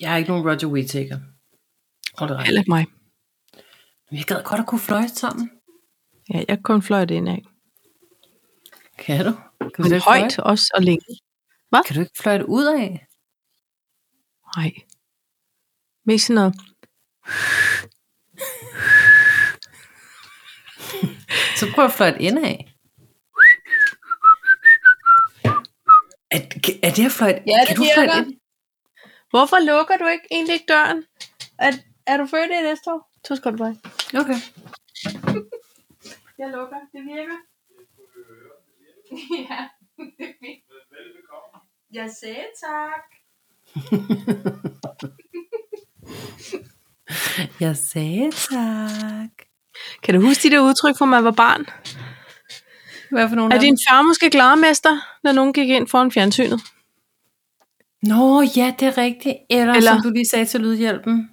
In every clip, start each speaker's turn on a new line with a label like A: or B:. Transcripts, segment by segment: A: Jeg er ikke nogen Roger Whittaker. Tror det er rigtigt.
B: Eller mig.
A: Men Jeg gad godt at kunne fløjte sammen.
B: Ja, jeg kan kun fløjte ind af.
A: Kan du? Kan du
B: Men
A: ikke
B: højt
A: fløjte?
B: også og længe.
A: Kan du ikke fløjte ud af?
B: Nej. Mest sådan noget.
A: Så prøv at fløjte indad. Er, er det at fløjte?
B: Ja, det
A: kan du
B: virker.
A: fløjte ind?
B: Hvorfor lukker du ikke egentlig ikke døren? Er, er du født i næste år? To skal du bare.
A: Okay.
B: Jeg lukker. Det virker. ja, det virker. Jeg sagde tak.
A: Jeg sagde tak.
B: Kan du huske de der udtryk, fra man var barn?
A: Hvad for nogen
B: Er
A: af dem?
B: din far måske glarmester, når nogen gik ind foran fjernsynet?
A: Nå, ja, det er rigtigt. Eller, Eller...
B: Eller-
A: som du lige sagde til lydhjælpen.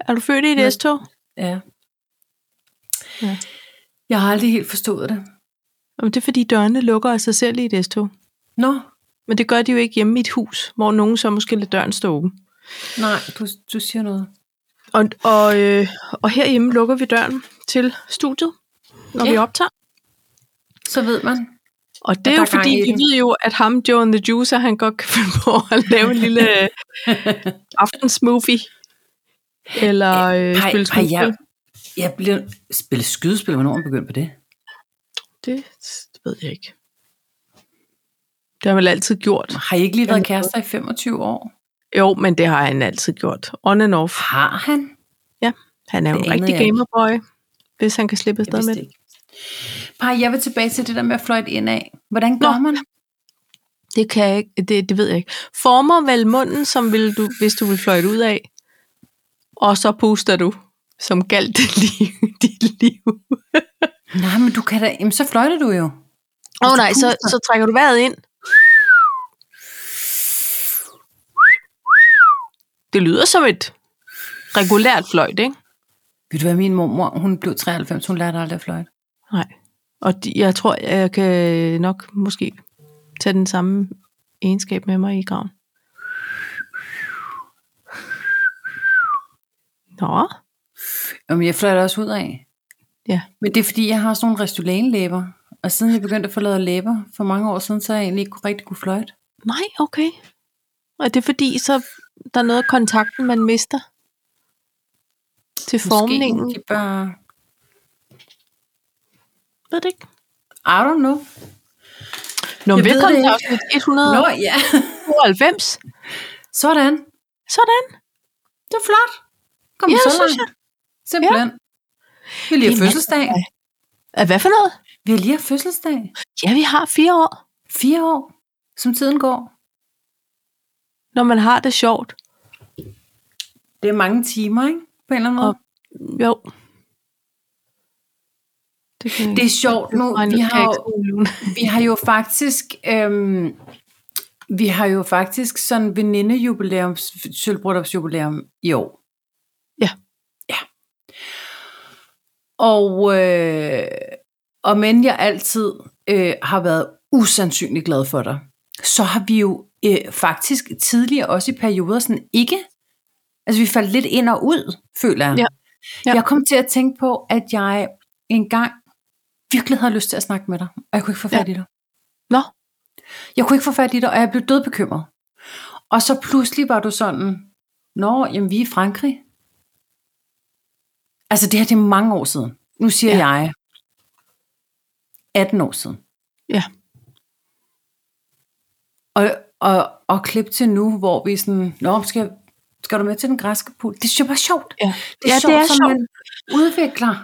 B: Er du født i et
A: Nej.
B: S-tog?
A: Ja.
B: Ja.
A: Jeg har aldrig helt forstået det.
B: Jamen, det er fordi dørene lukker af sig selv i et S-tog.
A: Nå,
B: Men det gør de jo ikke hjemme i et hus, hvor nogen så måske lader døren stå åben.
A: nej, du, du siger noget.
B: Og, og, øh, og herhjemme lukker vi døren til studiet,
A: Ja.
B: når ja. vi optager.
A: Så ved man.
B: Og det er
A: der
B: jo
A: er gang
B: fordi,
A: i
B: vi
A: den.
B: ved jo, at ham, Joe and the Juicer, han godt kan finde på at lave en lille øh, aftensmovie. Eller øh,
A: Pej,
B: spille
A: pej,
B: skuespil.
A: jeg, jeg blev... Spille skydespil, hvornår er man begyndte på det?
B: Det ved jeg ikke. Det har han vel altid gjort.
A: Har I ikke lige været kærester i 25 år?
B: Jo, men det har han altid gjort. On and off.
A: Har han?
B: Han er jo
A: Det
B: en
A: anede
B: rigtig
A: jeg ikke.
B: gamerboy, hvis han kan slippe
A: Jeg
B: afsted med
A: vidste
B: det.
A: ikke. Par, jeg vil tilbage til det der med at fløjte indad. Hvordan gør
B: Nå.
A: man?
B: Det kan jeg ikke, det, det ved jeg ikke. Former vel munden, som vil du, hvis du vil fløjte ud af, og så puster du, som galt dit liv. Dit liv.
A: Nej, men du kan da... Jamen, så fløjter du jo.
B: Åh oh, nej, så,
A: puster.
B: så trækker du vejret ind. Det lyder som et regulært fløjt, ikke?
A: Ved du hvad, min mormor, hun blev 93, hun lærte aldrig at fløjte.
B: Nej. Og de, jeg tror, jeg kan nok måske tage den samme egenskab med mig i graven. Nå,
A: Jamen, jeg fløjter også ud af.
B: Ja.
A: Men det er fordi, jeg har sådan nogle restolanlæber. Og siden jeg begyndte at få lavet læber for mange år siden, så har jeg egentlig ikke kunne- rigtig kunne fløjte.
B: nej, okay. Og det er fordi, så der er noget af kontakten, man mister til formningen.
A: Måske de bare...
B: Ved det ikke?
A: I don't know.
B: Nå,
A: Jeg ved
B: velkommen
A: det
B: til
A: ikke.
B: afsnit
A: Nå,
B: 192.
A: ja. Sådan.
B: Sådan.
A: Det er flot. Kom
B: Ja,
A: så
B: det synes
A: langt. Simpelthen. Ja. altså, Vi har lige haft
B: Det er
A: fødselsdag.
B: Ah, Hvad for noget?
A: Vi har lige haft fødselsdag.
B: Ja, vi har fire år,
A: Fire år, som tiden går.
B: når man har det sjovt.
A: Det er mange timer, ikke? På en eller anden måde.
B: Og- Jo. Det, kan
A: Det er sjovt nu. Vi har jo Vi har jo faktisk, øhm, vi har jo faktisk sådan venindejubilæum, sølvbryllupsjubilæum i år.
B: Ja.
A: Ja. Og, øh, og men jeg altid øh, har været usandsynlig glad for dig, så har vi jo øh, faktisk tidligere også i perioder sådan ikke, altså vi faldt lidt ind og ud, føler jeg.
B: Ja. Ja.
A: Jeg kom til at tænke på, at jeg engang virkelig havde lyst til at snakke med dig, og jeg kunne ikke få fat i dig.
B: Nå.
A: Jeg kunne ikke få fat i dig, og jeg blev dødbekymret. Og så pludselig var du sådan, Nå, jamen vi er i Frankrig. Altså det her, det er mange år siden. Nu siger ja.
B: Ja.
A: jeg 18 år siden.
B: Ja.
A: Og, og, og klip til nu, hvor vi er sådan, Nå, skal, skal du med til den græske pool? Det synes jeg var sjovt.
B: Ja.
A: Det er
B: Ja,
A: ja,
B: det
A: sjovt, det
B: er
A: er som
B: sjovt.
A: man udvikler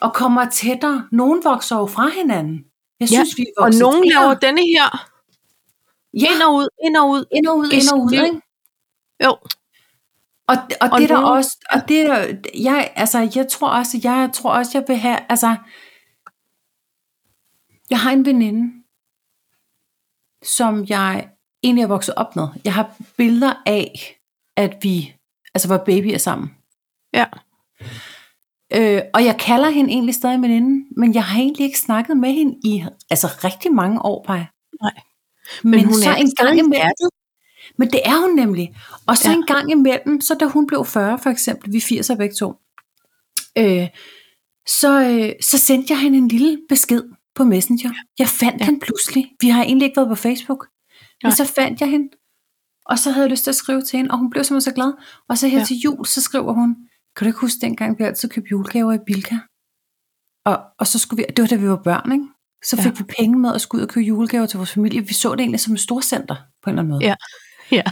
A: og kommer tættere. Nogen vokser jo fra hinanden. Jeg
B: Ja,
A: synes, ja, vi er
B: Og
A: vokset
B: nogen
A: tættere.
B: laver denne her.
A: Ja.
B: Ind og ud, ind og ud.
A: ind og ud, ind og ud,
B: Gæstliv.
A: ikke?
B: Jo.
A: Og, og,
B: Og
A: det er der
B: nogen-
A: også, og det er der, jeg, altså, jeg tror også, jeg tror også, jeg vil have, altså, jeg har en veninde, som jeg egentlig er vokset op med. Jeg har billeder af, at vi, altså, var babyer sammen.
B: Ja.
A: Øh, og jeg kalder hende egentlig stadig veninde, men jeg har egentlig ikke snakket med hende i altså rigtig mange år, Paj.
B: Nej.
A: Men, men
B: hun
A: hun så
B: er
A: en gang
B: stadig i
A: imellem. Men det er hun nemlig. Og så
B: Ja.
A: ja. en gang imellem, så da hun blev 40 for eksempel, vi er 80'er begge to, øh, så, øh, så sendte jeg hende en lille besked på Messenger. Jeg fandt
B: Ja.
A: ja. hende pludselig. Vi har egentlig ikke været på Facebook. Men
B: Nej.
A: så fandt jeg hende, og så havde jeg lyst til at skrive til hende, og hun blev simpelthen så glad. Og så her
B: Ja.
A: ja. til jul, så skriver hun, kan du ikke huske dengang, vi altid købte julegaver i Bilka? Og, og så skulle vi, det var da vi var børn, ikke? Så
B: Ja.
A: fik ja. vi penge med og skulle ud og købe julegaver til vores familie. Vi så det egentlig som et storcenter på en eller anden måde.
B: Ja. Ja.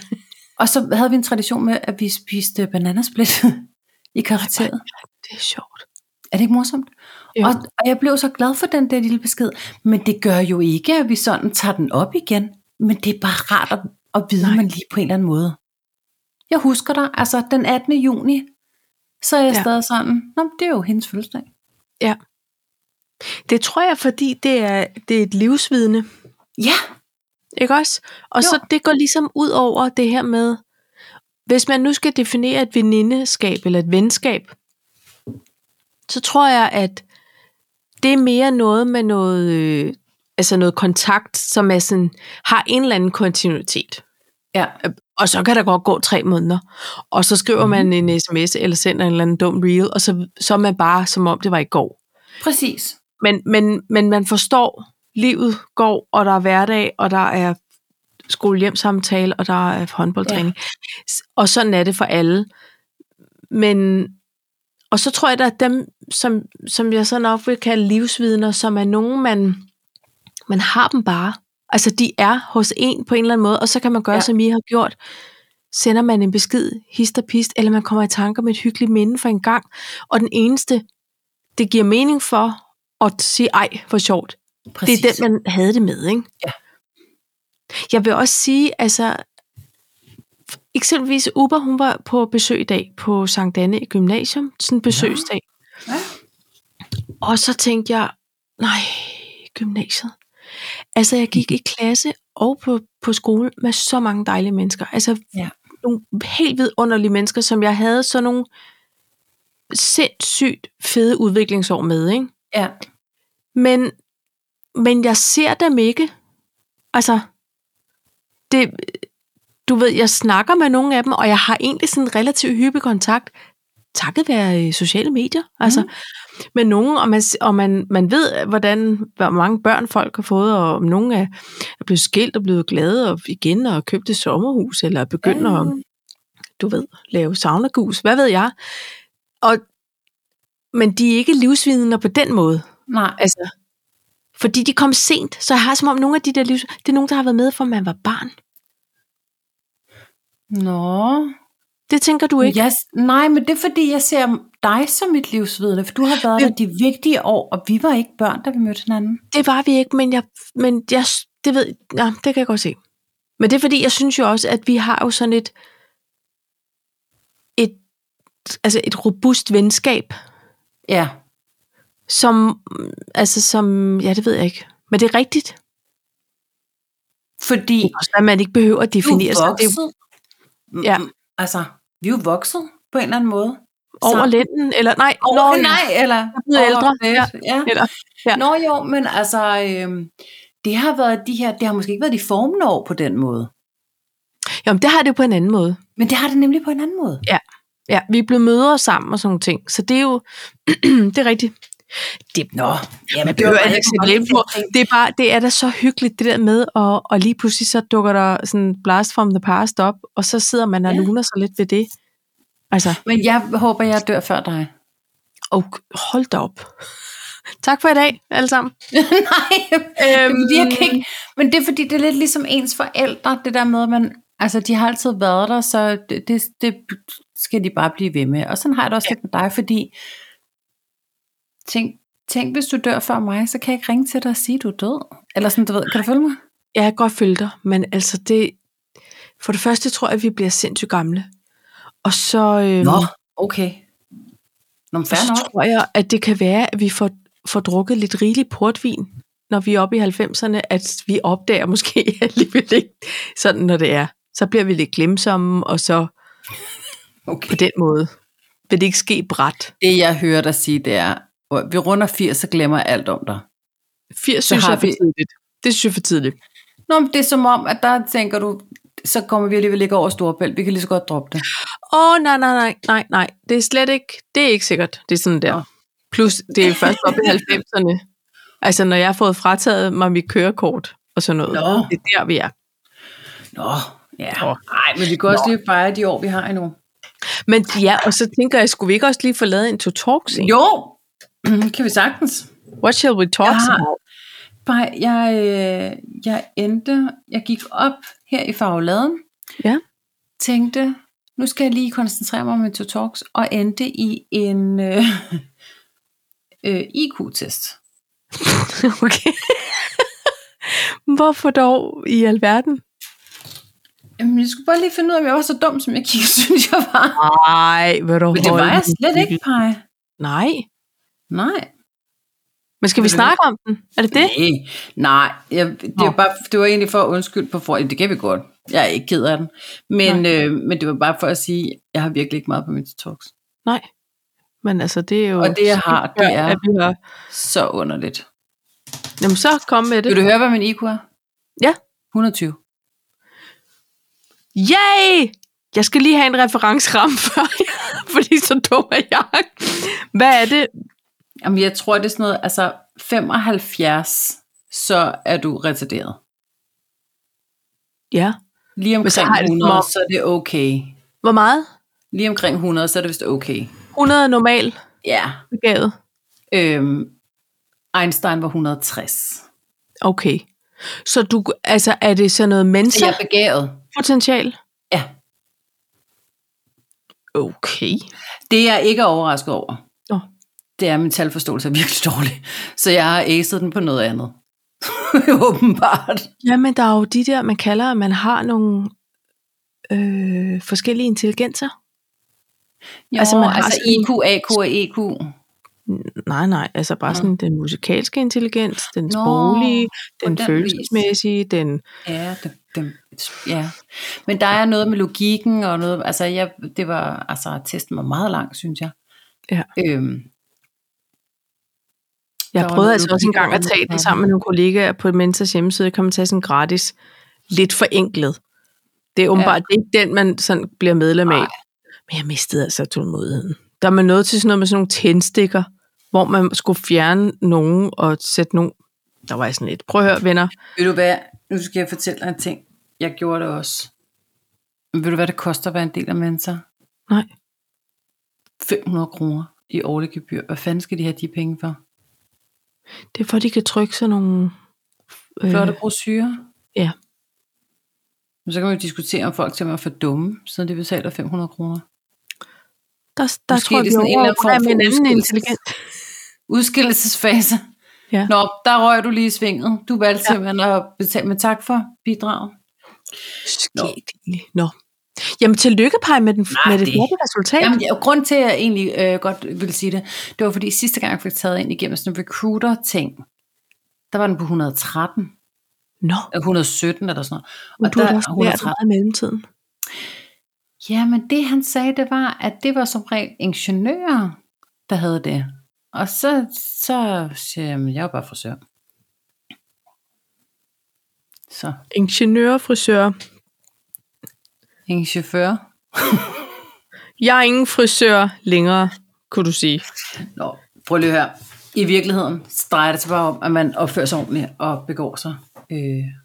A: Og så havde vi en tradition med, at vi spiste bananasplit i karakteret.
B: Det er sjovt.
A: Er det ikke morsomt?
B: Jo.
A: Og, og jeg blev så glad for den der lille besked. Men det gør jo ikke, at vi sådan tager den op igen. Men det er bare rart at, at vide,
B: Nej.
A: Nej. man lige på en eller anden måde. Jeg husker dig, altså den 18. juni, så er jeg
B: Ja.
A: ja. stadig sådan, Nå, men det er jo hendes fødselsdag.
B: Det tror jeg, fordi det er, det er et livsvidne,
A: Ja,
B: ikke også? Og jo.
A: Jo.
B: så det går ligesom ud over det her med, hvis man nu skal definere et venindeskab eller et venskab, så tror jeg, at det er mere noget med noget, øh, altså noget kontakt, som er sådan, har en eller anden kontinuitet.
A: ja,
B: Og så kan der godt gå tre måneder. Og så skriver mm. man en sms eller sender en eller anden dum reel, og så, så er man bare, som om det var i går.
A: præcis.
B: men, men, men man forstår, livet går, og der er hverdag, og der er skolehjemsamtale, og der er håndboldtræning. Ja. Og sådan er det for alle. Men, og så tror jeg, der er dem, som, som jeg så nok vil kalde livsvidner, som er nogen, man, man har dem bare. Altså, de er hos en på en eller anden måde, og så kan man gøre, ja.
A: Ja.
B: som I har gjort. Sender man en besked, hist og pist, eller man kommer i tanker med et hyggeligt minde for en gang, og den eneste, det giver mening for at sige, ej, hvor sjovt.
A: præcis.
B: Det er den, man havde det med, ikke?
A: Ja.
B: Jeg vil også sige, altså, eksempelvis Uber, hun var på besøg i dag på Sankt Anne Gymnasium, sådan en besøgsdag.
A: Ja.
B: Og så tænkte jeg, nej, gymnasiet. Altså, jeg gik i klasse og på, på skole med så mange dejlige mennesker. Altså,
A: Ja.
B: nogle helt vidunderlige mennesker, som jeg havde sådan nogle sindssygt fede udviklingsår med, ikke?
A: ja.
B: Men, men jeg ser dem ikke. Altså, det, du ved, jeg snakker med nogle af dem, og jeg har egentlig sådan en relativt hyppig kontakt, takket være øh, sociale medier, altså, med nogen, og man, s- og man, man ved, hvordan, hvor mange børn folk har fået, og om nogen er, er blevet skilt og blevet glade, og igen, og købt et sommerhus, eller begynder at
A: Øh,
B: du ved, lave saunagus, hvad ved jeg. Og, men de er ikke livsvidner på den måde.
A: Nej,
B: Altså, fordi de kom sent, så jeg har som om nogle af de der livs... Det er nogen, der har været med, for man var barn.
A: nå.
B: Det tænker du ikke?
A: Jeg, nej, men det er fordi, jeg ser dig som mit livsvidne, for du har været
B: Ja.
A: der de vigtige år, og vi var ikke børn, da vi mødte hinanden.
B: Det var vi ikke, men jeg... Men jeg det ved... Ja, det kan jeg godt se. Men det er fordi, jeg synes jo også, at vi har jo sådan et... et altså et robust venskab,
A: Ja,
B: som... mm, Altså som... Ja, det ved jeg ikke. Men det er rigtigt.
A: fordi
B: Det er også, at man ikke behøver at
A: du
B: definere sig.
A: er
B: Det er
A: vokset.
B: Ja.
A: Mm, Altså, vi er jo vokset på en eller anden måde.
B: over
A: Så-
B: lænden, eller nej,
A: Over, Nå, nej, eller
B: blevet
A: over
B: ældre,
A: lidt,
B: ja.
A: ja.
B: Eller- ja.
A: Nå jo, men altså, øhm, det har været de her, det har måske ikke været de formende år på den måde,
B: Jamen, det har det jo på en anden måde.
A: men det har det nemlig på en anden måde.
B: Ja, vi er blevet mødre sammen og sådan nogle ting. Så det er jo, det er rigtigt. Det,
A: Nå, jamen,
B: det er jo
A: bare
B: Alex
A: ikke
B: et lem på.
A: mange ting.
B: Det er, bare, det er da så hyggeligt, det der med, og, og lige pludselig så dukker der sådan blast from the past op, og så sidder man og
A: Ja.
B: luner sig lidt ved det. Altså,
A: Men jeg håber, jeg dør før dig.
B: og hold da op. Tak for i dag, alle sammen.
A: Nej, Jamen, jeg kan ikke. Men det er fordi, det er lidt ligesom ens forældre, det der med, at man, altså, de har altid været der, så det, det, det skal de bare blive ved med. Og sådan har jeg det også
B: Ja.
A: ja. lidt med dig, fordi tænk, tænk, hvis du dør før mig, så kan jeg ikke ringe til dig og sige, at du er død. Eller sådan, du ved, kan du følge mig?
B: Jeg kan godt følge dig, men altså det... For det første tror jeg, at vi bliver sindssygt gamle. Og så... Øhm,
A: okay. Nå, men
B: Og
A: fair
B: så
A: nok.
B: tror jeg, at det kan være, at vi får, får drukket lidt rigelig portvin, når vi er oppe i 90'erne, at vi opdager måske alligevel ikke, sådan når det er. Så bliver vi lidt glemsomme, og så på
A: Okay.
B: den måde vil det ikke ske bræt.
A: Det, jeg hører dig sige, det er, at vi runder 80 og glemmer alt om dig.
B: 80
A: Så
B: synes
A: har
B: jeg er for
A: vi-
B: tidligt. Det synes jeg er for tidligt.
A: Nå, men det er som om, at der tænker du, så kommer vi alligevel ikke over Storebælt. Vi kan lige så godt droppe det.
B: Åh, oh, nej, nej, nej, nej, nej. Det er slet ikke, det er ikke sikkert. Det er sådan der.
A: Nå.
B: Plus, det er først op i 90'erne. Altså, når jeg har fået frataget mig mit kørekort og sådan noget.
A: Nå.
B: Det er der, vi er.
A: Nå, ja.
B: Nå.
A: Nej, men vi kan også lige fejre de år, vi har endnu.
B: Men ja, og så tænker jeg, skulle vi ikke også lige få lavet en to talk scene?
A: Jo, kan vi sagtens.
B: What shall we talk
A: Jeg har-
B: about?
A: Bare, jeg, øh, jeg endte, jeg gik op her i fagladen,
B: Ja.
A: tænkte, nu skal jeg lige koncentrere mig om min to talks, og endte i en øh, øh, IQ-test.
B: okay. Hvorfor dog i alverden?
A: Jamen, jeg skulle bare lige finde ud af, om jeg var så dum, som jeg kiggede, synes jeg var.
B: Nej, vil du
A: Men det var
B: holde
A: jeg
B: din
A: slet ikke,
B: cykel?
A: Paj.
B: Nej.
A: Nej.
B: Men skal vi
A: Vil du
B: snakke om den? Er det det?
A: Nej, nej jeg, det, var
B: Nå.
A: bare, det var egentlig for at undskylde på forhånd. Det kan vi godt. Jeg er ikke ked af den. Men, øh, men det var bare for at sige, at jeg har virkelig ikke meget på min talks.
B: Nej. Men altså, det er jo...
A: Og det, jeg har, det
B: Ja,
A: er-
B: at vi har-
A: Så underligt.
B: Jamen, så kom med det.
A: Vil du høre, hvad min IQ er?
B: Ja.
A: 120.
B: Yay! Jeg skal lige have en referenceramme før, fordi så dum er jeg. Hvad er det?
A: Jamen, jeg tror, det er sådan noget, altså 75, så er du retarderet.
B: Ja.
A: Lige
B: Men så
A: omkring
B: har jeg det som
A: 100,
B: om-
A: så er det okay.
B: Hvor meget?
A: Lige omkring 100, så er det vist okay.
B: 100 er normal
A: Ja.
B: begavet.
A: Øhm, Einstein var 160.
B: Okay. Så du, altså, er det sådan noget
A: Så jeg
B: mensa
A: er begavet.
B: potential?
A: Ja.
B: Okay.
A: Det jeg ikke er overrasket over,
B: Nå.
A: det er, at min talforståelse er virkelig dårlig. Så jeg har acet den på noget andet. Åbenbart.
B: Jamen, der er jo de der, man kalder, at man har nogle øh, forskellige intelligenser.
A: Jo,
B: Altså,
A: altså,
B: man
A: man
B: har
A: altså
B: sådan-
A: IQ, AQ og EQ.
B: Nej, nej, altså bare sådan den musikalske intelligens, den
A: Nå,
B: sproglige, den,
A: den vis.
B: følelsesmæssige, den...
A: Ja, dem, dem, ja. Men der er noget med logikken og noget... Altså, jeg, det var... Altså, testen var meget lang, synes jeg.
B: Ja.
A: Øhm, Der
B: Jeg
A: var
B: prøvede
A: noget
B: altså
A: logik
B: også engang
A: over
B: at tage
A: det.
B: den sammen med nogle kollegaer på Mentas hjemmeside. Kan man tage sådan gratis, lidt forenklet. Det er åbenbart ja. ikke den, man sådan bliver medlem af.
A: Nej.
B: Men jeg mistede altså tålmodigheden. Der er man nået til sådan noget med sådan nogle tændstikker, hvor man skulle fjerne nogen og sætte nogen. Der var jeg sådan lidt, prøv at høre venner.
A: ved du hvad? Nu skal jeg fortælle dig en ting. Jeg gjorde det også. Men ved du hvad det koster at være en del af mentor?
B: Nej,
A: 500 kroner i årlig gebyr. Hvad fanden skal de have de penge for?
B: det er for, at de kan trykke sådan nogle... øh,
A: flotte brosyrer.
B: ja.
A: Men så kan man jo diskutere, om folk simpelthen er for dumme, så de betaler 500 kroner.
B: Der, der
A: Måske
B: tror
A: er
B: jeg,
A: det
B: vi
A: sådan en eller anden
B: overrunder
A: form
B: med
A: for
B: en anden
A: udskillelse.
B: intelligens.
A: Udskillelsesfase.
B: Ja.
A: Nå, der røg du lige i svinget. Du valgte ja. simpelthen at betale, men tak for bidraget. Nå.
B: Skægt egentlig. Nå. Jamen, tillykke, Paj, med, den,
A: Nej,
B: med det
A: det-
B: flotte resultat.
A: Jamen, ja, grund til, at jeg egentlig øh, godt ville sige det, det var fordi sidste gang, jeg fik taget ind igennem sådan en recruiter-ting, der var den på 113,
B: Nå.
A: eller 117 eller sådan noget.
B: Men
A: Og
B: du har
A: der
B: da
A: er
B: også lært
A: 113.
B: meget i mellemtiden.
A: Ja, men det han sagde, det var, at det var som regel ingeniører, der havde det. Og så, så siger jeg, "Jamen, jeg er jo bare frisør. Så,
B: Ingeniør, frisør.
A: ingen chauffør.
B: Jeg er ingen frisør længere, kunne du sige.
A: Nå, prøv lige her. I virkeligheden så drejer det sig bare om, at man opfører sig ordentligt og begår sig øh,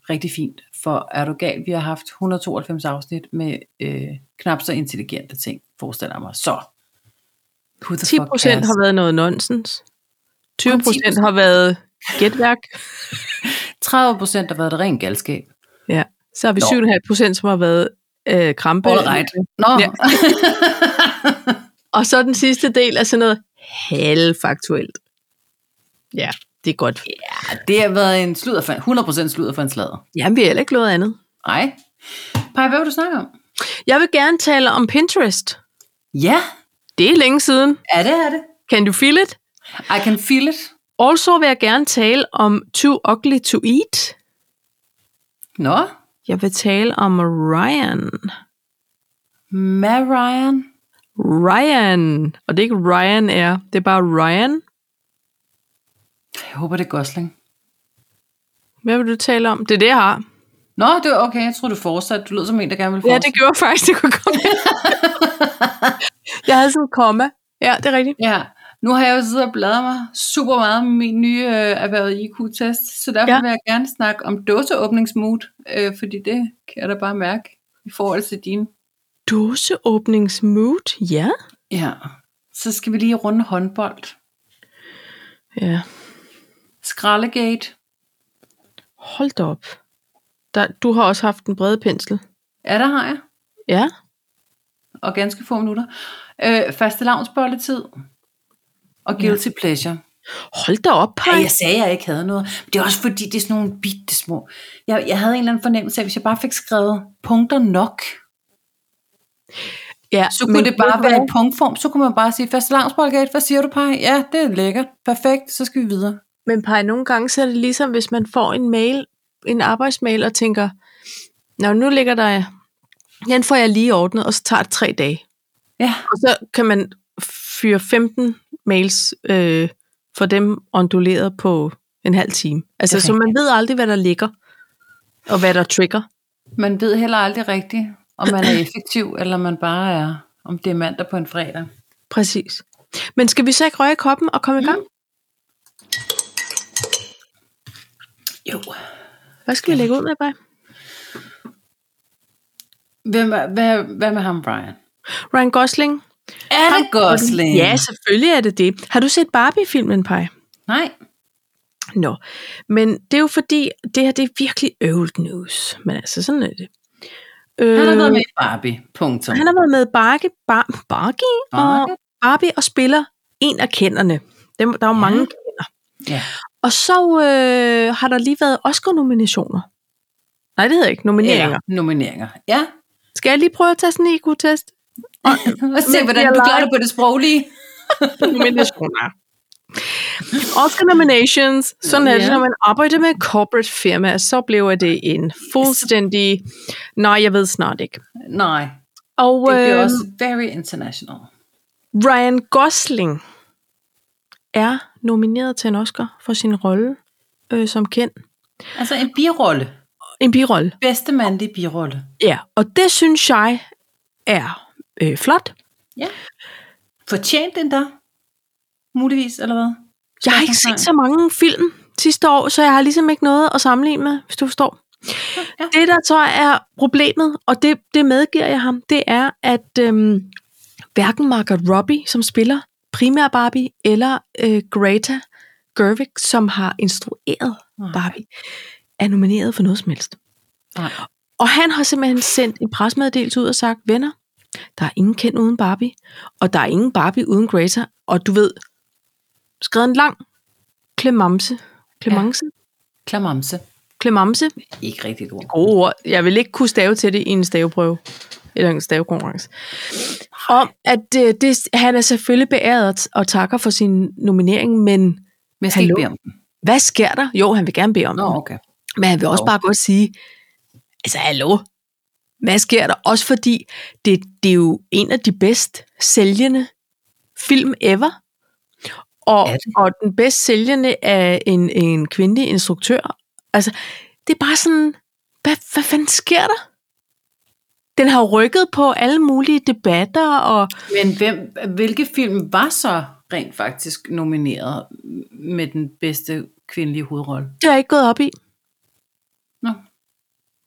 A: rigtig fint. For er du gal, vi har haft 192 afsnit med øh, knap så intelligente ting, forestiller jeg mig. Så, who the
B: 10
A: fuck
B: procent
A: cares?
B: har været noget nonsens. 20 procent
A: 10%.
B: har været gætværk.
A: 30 procent har været det rent galskab.
B: Ja. Så har vi
A: Nå.
B: 7,5 procent, som har været øh, krampe.
A: All right. Nå,
B: Ja.
A: ja.
B: Og så den sidste del er sådan noget halvfaktuelt. Ja, det er godt.
A: det har været en sludder for, 100% sludder for en sladder.
B: Jamen, vi har heller ikke lovet andet.
A: Nej. Paj, hvad vil du snakke om?
B: Jeg vil gerne tale om Pinterest.
A: Ja,
B: Det er længe siden.
A: er det, er det.
B: Can you feel it?
A: I can feel it.
B: Also vil jeg gerne tale om Too Ugly to Eat.
A: Nå,
B: Jeg vil tale om Ryan.
A: Marion.
B: Ryan. Og det er ikke Ryan er, det er bare Ryan.
A: Jeg håber, det er Gosling.
B: Hvad vil du tale om? Det er det, jeg har.
A: Nå, det var okay. Jeg troede, du fortsatte. Du lød som en, der gerne ville
B: Ja,
A: fortsætte.
B: det gjorde faktisk, det kunne komme. jeg havde sådan en komma. Ja, det er rigtigt.
A: Ja, nu har jeg jo siddet og bladret mig super meget med min nye øh, erhvervet IQ-test, så derfor
B: Ja.
A: ja. vil jeg gerne snakke om dåseåbningsmood, øh, fordi det kan jeg da bare mærke i forhold til din.
B: Doseåbningsmood, ja.
A: Ja, så skal vi lige runde håndbold.
B: Ja,
A: Skrallegate,
B: hold da op. Der, du har også haft en bred pensel.
A: ja der har jeg,
B: Ja.
A: og ganske få minutter. Øh, faste lavnsbolletid og guilty ja. pleasure.
B: Hold da op,
A: Ja,
B: Paj.
A: jeg sagde, at jeg ikke havde noget. Men det er også fordi, det er sådan nogle bitte små. Jeg, jeg havde en eller anden fornemmelse af, at hvis jeg bare fik skrevet punkter nok,
B: ja,
A: Så kunne
B: men
A: det
B: ved
A: bare
B: du
A: være
B: hvad?
A: i punktform. Så kunne man bare sige, fast lavnsboldgate, hvad siger du, Paj? Ja, det er lækkert. Perfekt, så skal vi videre.
B: Men Paj, nogle gange så er det ligesom, hvis man får en mail, en arbejdsmail, og tænker, Nå, nu ligger der, den får jeg lige ordnet, og så tager det tre dage.
A: Ja,
B: Og så kan man fyre 15 mails øh, for dem onduleret på en halv time. Altså,
A: Det er
B: så man ved aldrig, hvad der ligger, og hvad der trigger.
A: man ved heller aldrig rigtigt, om man er effektiv, eller man bare er, om det er mandag på en fredag.
B: Præcis. Men skal vi så ikke røge koppen og komme i gang?
A: Jo.
B: Hvad skal vi lægge ud med, Paj?
A: Hvem er, hvad, hvad med ham, Brian?
B: Ryan Gosling?
A: Er det Gosling?
B: Ja, selvfølgelig er det det. Har du set Barbie-filmen, Paj?
A: Nej.
B: Nå, men det er jo fordi, det her det er virkelig old news. Men altså, sådan er det. Øh,
A: Han har været med i Barbie. Punktum.
B: han har været med i Barke, Bar, Barke,
A: Barbie?
B: og Barbie og spiller en af kenderne. Dem, der er jo
A: Ja.
B: mange kender.
A: Ja.
B: Og så øh, har der lige været Oscar-nominationer. Nej, det hedder ikke. Nomineringer.
A: Ja, nomineringer. Ja.
B: Skal jeg lige prøve at tage sådan en IQ-test?
A: Og se,
B: Men
A: hvordan
B: jeg
A: du
B: leger-
A: klarer det på det sproglige.
B: nominationer. Oscar nominations. Sådan er det,
A: Ja.
B: når man arbejder med corporate firma, så bliver det en fuldstændig... Nej, jeg ved snart ikke.
A: Nej,
B: Og
A: det bliver
B: øh,
A: også very international.
B: Ryan Gosling er nomineret til en Oscar for sin rolle øh, som kendt.
A: Altså en birolle.
B: En birolle.
A: Bedste mandlige birolle.
B: Ja, og det synes jeg er øh, flot.
A: Ja. Fortjent den der? Muligvis, eller hvad?
B: Jeg har ikke set så mange film sidste år, så jeg har ligesom ikke noget at sammenligne med, hvis du forstår.
A: Ja.
B: Det, der så er problemet, og det, det medgiver jeg ham, det er, at øhm, hverken Margaret Robbie, som spiller primær Barbie, eller øh, Greta Gerwig, som har instrueret
A: Nej.
B: Barbie, er nomineret for noget som helst.
A: Nej.
B: Og han har simpelthen sendt en presmeddelelse ud og sagt, venner, der er ingen kendt uden Barbie, og der er ingen Barbie uden Greta, og du ved, skrevet en lang klemamse, klemamse, ja.
A: Klamamse.
B: klemamse,
A: Ikke rigtigt ord.
B: gode ord. Jeg vil ikke kunne stave til det i en staveprøve. Eller en stavekonkurrence. Om, at øh, det, han er selvfølgelig beæret og- og takker for sin nominering, men
A: Men jeg skal ikke
B: Hallo?
A: bede om den.
B: hvad sker der? Jo, han vil gerne bede om
A: Nå,
B: det,
A: okay.
B: men han vil også
A: Nå.
B: bare godt sige, altså hallo, hvad sker der? Også fordi, det, det er jo en af de bedst sælgende film ever, og,
A: Er
B: og den bedst sælgende af en, en kvindelig instruktør. Altså, det er bare sådan, hvad, hvad fanden sker der? Den har rykket på alle mulige debatter, og
A: Men hvem, hvilke film var så rent faktisk nomineret med den bedste kvindelige hovedrolle?
B: det har jeg ikke gået op i.
A: Nå.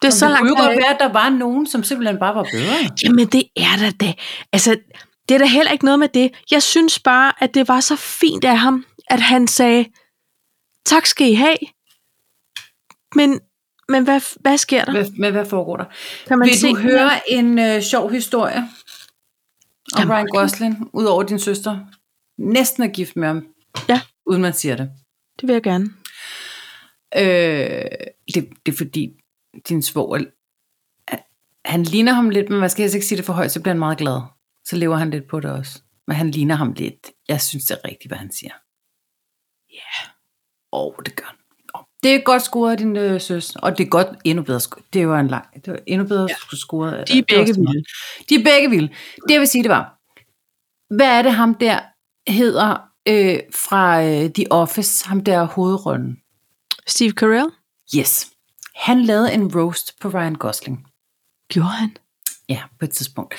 B: Det er så langt,
A: det kunne jo
B: har jeg
A: godt være, at der var nogen, som simpelthen bare var bedre.
B: Jamen, det er der da. Altså, det er da heller ikke noget med det. Jeg synes bare, at det var så fint af ham, at han sagde, tak skal I have, men, men hvad, hvad sker der?
A: Hvad, men hvad foregår der?
B: Kan man
A: Vil
B: se
A: du
B: den
A: høre en øh, sjov historie om
B: Jamen,
A: Ryan
B: okay.
A: Gosling, ud over din søster? Næsten er gift med ham.
B: Ja.
A: Uden man siger det.
B: Det vil jeg gerne.
A: Øh, det, det er fordi, din svoger, han ligner ham lidt, men man skal helst ikke sige det for højt, så bliver han meget glad. Så lever han lidt på det også. Men han ligner ham lidt. Jeg synes, det er rigtigt, hvad han siger. Ja. Yeah. Åh, det gør han. Åh, Det er godt scoret af din øh, søs, og det er godt endnu bedre sko- Det var en lang, det var endnu bedre ja. scoret. af-
B: De er
A: det var
B: begge
A: sådan noget.
B: vilde.
A: De er begge vilde. Det vil sige, det var. Hvad er det, ham der hedder øh, fra øh, The Office? Ham der hovedrollen.
B: Steve Carell?
A: Yes. Han lavede en roast på Ryan Gosling.
B: Gjorde han?
A: Ja, på et tidspunkt.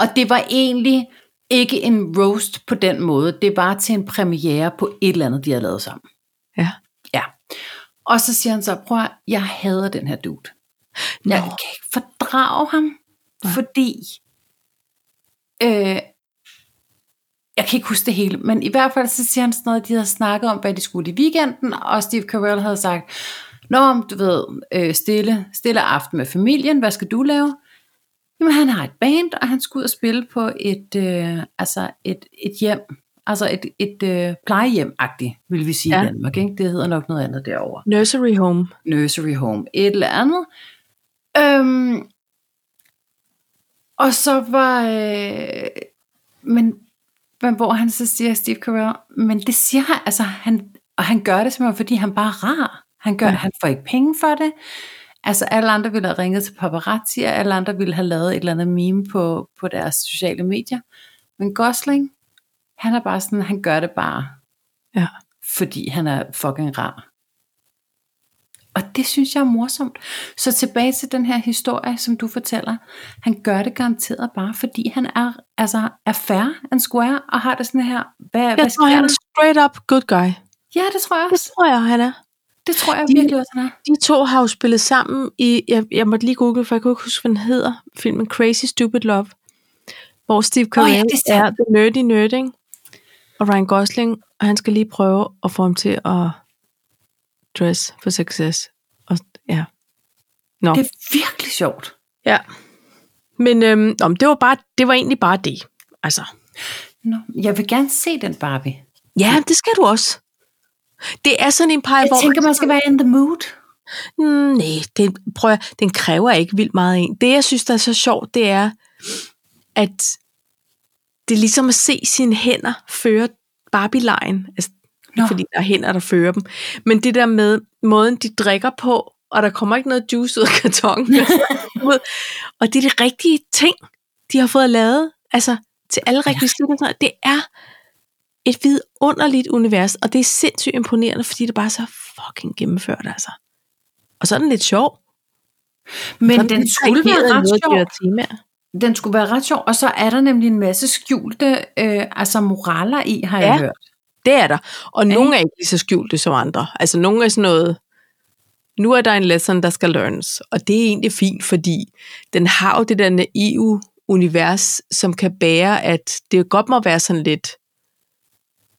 A: Og det var egentlig ikke en roast på den måde. Det var til en premiere på et eller andet, de havde lavet sammen.
B: Ja.
A: Ja. Og så siger han så, prøv at, høre, jeg hader den her dude. Jeg
B: Nå.
A: kan ikke fordrage ham,
B: Nej.
A: fordi... Øh, jeg kan ikke huske det hele, men i hvert fald så siger han sådan noget, de havde snakket om, hvad de skulle i weekenden, og Steve Carell havde sagt, Nå, men du ved, øh, stille, stille aften med familien, hvad skal du lave? Jamen, han har et band, og han skal ud og spille på et, øh, altså et, et hjem, altså et, et øh, plejehjem-agtigt, vil vi sige ja. i
B: Ja.
A: Danmark. Ikke? Det hedder nok noget andet derovre
B: Nursery home.
A: nursery home, et eller andet. Øhm, og så var, øh, men, men hvor han så siger Steve Carell, men det siger han, altså han, og han gør det simpelthen, fordi han bare er rar. Han, gør,
B: Ja.
A: ja. han får ikke penge for det. Altså alle andre ville have ringet til paparazzi, og alle andre ville have lavet et eller andet meme på, på deres sociale medier. Men Gosling, han er bare sådan, han gør det bare,
B: Ja.
A: fordi han er fucking rar. Og det synes jeg er morsomt. Så tilbage til den her historie, som du fortæller. Han gør det garanteret bare, fordi han er, altså, er fair and square, og har det sådan her. Hvad, hvad
B: Jeg tror,
A: sker
B: han
A: der?
B: er straight up good guy.
A: Ja, det tror jeg
B: Det
A: også.
B: tror jeg, han er.
A: Det tror jeg
B: De-
A: virkelig også, han er.
B: De to har jo spillet sammen i, jeg, jeg måtte lige google, for jeg kunne ikke huske, hvad den hedder, filmen Crazy Stupid Love, hvor Steve
A: Åh, ja,
B: Carell oh,
A: det er
B: ja,
A: sandt.
B: er the nerdy nerd, ikke? og Ryan Gosling, og han skal lige prøve at få ham til at dress for success. Og, ja. Nå.
A: Det
B: Det...
A: er virkelig sjovt.
B: ja. Men øhm, nå, men det, var bare, det var egentlig bare det. Altså.
A: Nå, jeg vil gerne se den Barbie.
B: Ja, det skal du også. Det er sådan en par,
A: Jeg
B: hvor
A: tænker, man skal være in the mood.
B: Mm, nej, det, prøv at, den kræver ikke vildt meget af en. Det, jeg synes, der er så sjovt, det er, at det er ligesom at se sine hænder føre Barbie-lejen. Altså,
A: Nå.
B: Nå. fordi der er hænder, der fører dem. Men det der med måden, de drikker på, og der kommer ikke noget juice ud af kartongen. og det er de rigtige ting, de har fået lavet. Altså, til alle rekvisitter. og sådan noget. Det er et vidunderligt univers, og det er sindssygt imponerende, fordi det bare er så fucking gennemført, altså. Og så er den lidt sjov.
A: Men
B: Så er
A: den
B: lidt
A: skulle være
B: karikeret i
A: ret
B: noget af de
A: sjov.
B: her temaer.
A: Den skulle være ret sjov, og så er der nemlig en masse skjulte øh, altså moraler i, har jeg
B: Ja.
A: hørt.
B: Det er der. Og nogle er ikke lige så skjulte som andre. Altså nogle er sådan noget, nu er der en lesson, der skal learns. Og det er egentlig fint, fordi den har jo det der naive univers, som kan bære, at det godt må være sådan lidt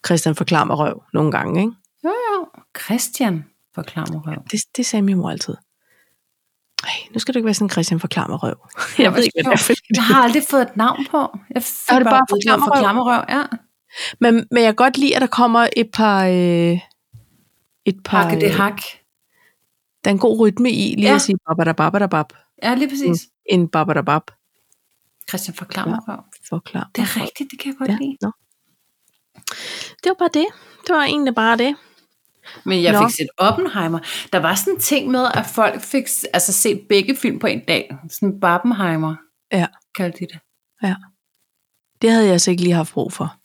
B: Christian forklarer mig røv nogle gange, ikke?
A: Jo, jo. Christian forklarer mig røv.
B: Det, det sagde min mor altid. Ej, nu skal du ikke være sådan, Christian, forklar mig røv. Jeg ved ikke, hvad det er. fordi
A: Jeg har aldrig fået et navn på. Jeg fik
B: er det bare
A: at vide, det var
B: forklammerøv?
A: forklammerøv, ja.
B: det- Men, men jeg kan godt lide, at der kommer et par... Øh, et par øh,
A: Hakke det hak.
B: der er en god rytme i, lige
A: Ja.
B: ja. at sige babadababadabab,
A: Ja, lige præcis. Mm.
B: en babadabab.
A: Christian forklammerøv.
B: Forklar.
A: Det er rigtigt, det kan jeg godt
B: Ja.
A: ja. lide.
B: Nå. Det var bare det. Det var egentlig bare det.
A: Men jeg
B: Nå.
A: fik set Oppenheimer. Der var sådan en ting med, at folk fik s- altså, set begge film på en dag. Sådan en Barbenheimer,
B: Ja,
A: kaldte de det.
B: ja. Det havde jeg altså ikke lige haft brug for.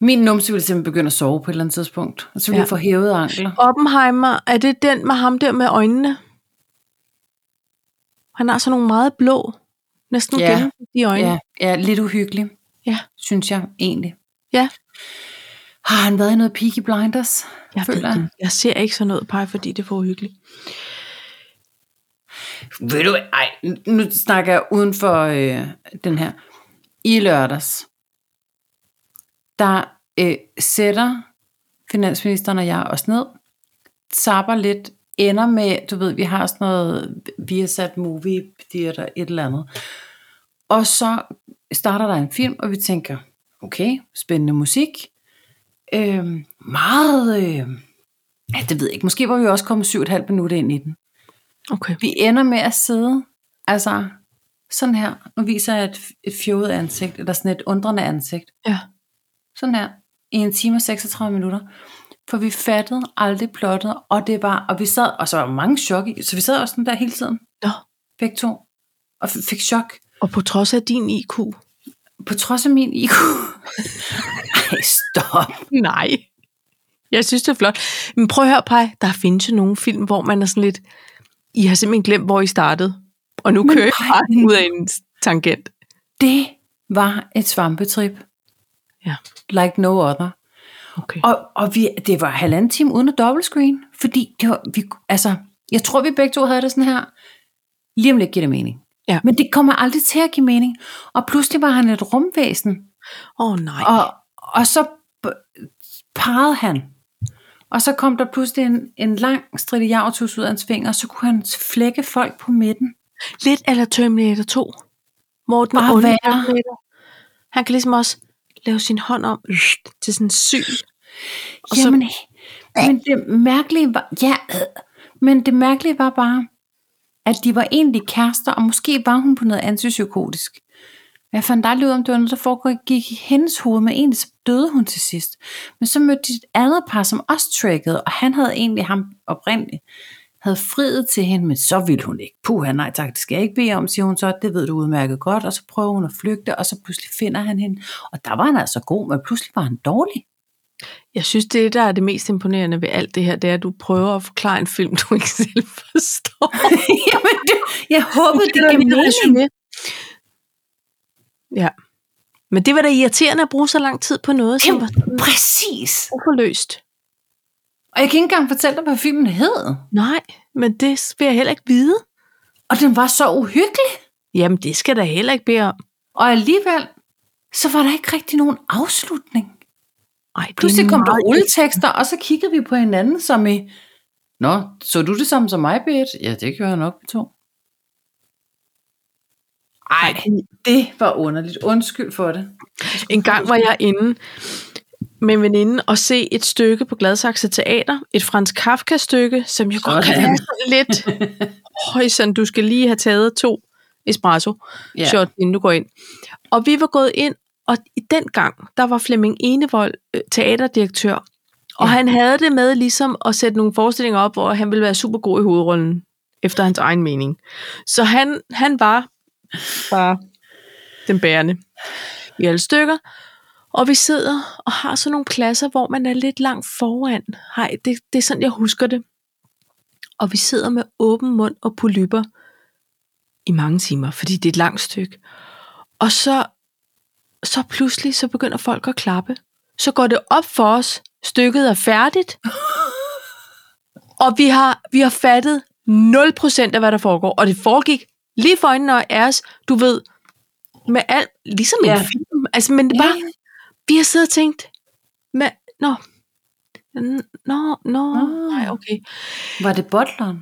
A: Min numse ville simpelthen begynde at sove på et eller andet tidspunkt. Og så ville
B: Ja.
A: ja. jeg få hævet ankler.
B: Oppenheimer, er det den med ham der med øjnene? Han har sådan nogle meget blå, næsten
A: Ja.
B: ja. i øjnene.
A: Ja, ja, lidt uhyggelig,
B: Ja.
A: synes jeg egentlig.
B: Ja.
A: Har han været i noget Peaky Blinders?
B: Jeg, ved
A: Føler jeg.
B: det. jeg ser ikke sådan noget, Paj, fordi det er for uhyggeligt.
A: Ved du, ej, nu snakker jeg uden for øh, den her. I lørdags, der øh, sætter finansministeren og jeg os ned, tapper lidt, ender med, du ved, vi har sådan noget, vi har sat movie theater, et eller andet. Og så starter der en film, og vi tænker, okay, spændende musik. Øh, meget, øh, ja, det ved jeg ikke, måske var vi også kommet syv og et halvt minut ind i den.
B: Okay.
A: Vi ender med at sidde, altså sådan her. Nu viser jeg et, et fjollet ansigt, eller sådan et undrende ansigt.
B: Ja.
A: Sådan her. I en time og 36 minutter. For vi fattede aldrig plottet, og det var, og vi sad, og så var mange chok i, så vi sad også sådan der hele tiden,
B: Nå.
A: begge to, og f- fik chok.
B: Og på trods af din IQ?
A: På trods af min IQ. Ej, stop.
B: Nej. Jeg synes, det er flot. Men prøv at høre, Paj, der findes jo nogle film, hvor man er sådan lidt, I har simpelthen glemt, hvor I startede. Og nu
A: Men
B: kører I
A: nej.
B: bare ud af en tangent.
A: Det var et svampetrip.
B: Ja.
A: Like no other.
B: Okay.
A: Og, og vi, det var halvanden time uden at dobbeltscreen, fordi det var, vi, altså, jeg tror, vi begge to havde det sådan her. Lige om lidt giver det mening.
B: Ja.
A: Men det kommer aldrig til at give mening. Og pludselig var han et rumvæsen,
B: Åh oh, nej.
A: og, og så b- pegede han. Og så kom der pludselig en, en lang stridiautus ud af hans fingre, og så kunne han flække folk på midten.
B: Lidt eller Terminator 2. Hvor den
A: Bare
B: onde
A: være.
B: Terminator. Han kan ligesom også lave sin hånd om til sådan en syg.
A: Og
B: Og så-
A: Jamen, så, men det mærkelige var, ja, øh, men det mærkelige var bare, at de var egentlig kærester, og måske var hun på noget antipsykotisk. Men jeg fandt aldrig ud af, om det var noget, der foregik i hendes hoved, men egentlig så døde hun til sidst. Men så mødte de et andet par, som også trackede, og han havde egentlig ham oprindeligt havde friet til hende, men så ville hun ikke. Puh, nej tak, det skal jeg ikke bede om, siger hun så. Det ved du udmærket godt. Og så prøver hun at flygte, og så pludselig finder han hende. Og der var han altså god, men pludselig var han dårlig.
B: Jeg synes, det der er det mest imponerende ved alt det her, det er, at du prøver at forklare en film, du ikke selv forstår.
A: Jamen, det, jeg håbede, det gav mening.
B: det Ja. Men det var da irriterende at bruge så lang tid på noget, som var sådan
A: Præcis.
B: uforløst.
A: Og jeg kan ikke engang fortælle dig, hvad filmen hed.
B: Nej, men det vil jeg heller ikke vide.
A: Og den var så uhyggelig.
B: Jamen, det skal jeg da heller ikke bede om.
A: Og alligevel, så var der ikke rigtig nogen afslutning.
B: Ej, det er
A: Pludselig kom der
B: meget-
A: rulletekster, og så kiggede vi på hinanden som i... Nå, så du det samme som mig, Beat? Ja, det gjorde jeg nok på to. Ej, det var underligt. Undskyld for det.
B: En gang var jeg inde med en veninde og se et stykke på Gladsaxe Teater, et fransk Kafka-stykke, som jeg godt kan
A: Sådan.
B: være sådan lidt højsen, du skal lige have taget to espresso yeah. shot, inden du går ind. Og vi var gået ind, og i den gang, der var Flemming Enevold øh, teaterdirektør, og
A: Ja.
B: han havde det med ligesom at sætte nogle forestillinger op, hvor han ville være super god i hovedrollen, efter hans egen mening. Så han, han var bare den bærende i alle stykker. Og vi sidder og har sådan nogle pladser, hvor man er lidt langt foran. Hej, det, det er sådan, jeg husker det. Og vi sidder med åben mund og polypper i mange timer, fordi det er et langt stykke. Og så, så pludselig, så begynder folk at klappe. Så går det op for os, stykket er færdigt. og vi har, vi har fattet 0% af, hvad der foregår. Og det foregik lige for øjnene af os, du ved, med alt, ligesom ja.
A: Ja.
B: en film. Altså, men det
A: Ja,
B: var, vi har siddet og tænkt, med, nå, n- nå, nå,
A: Nå.
B: nej, okay.
A: Var det bottleren?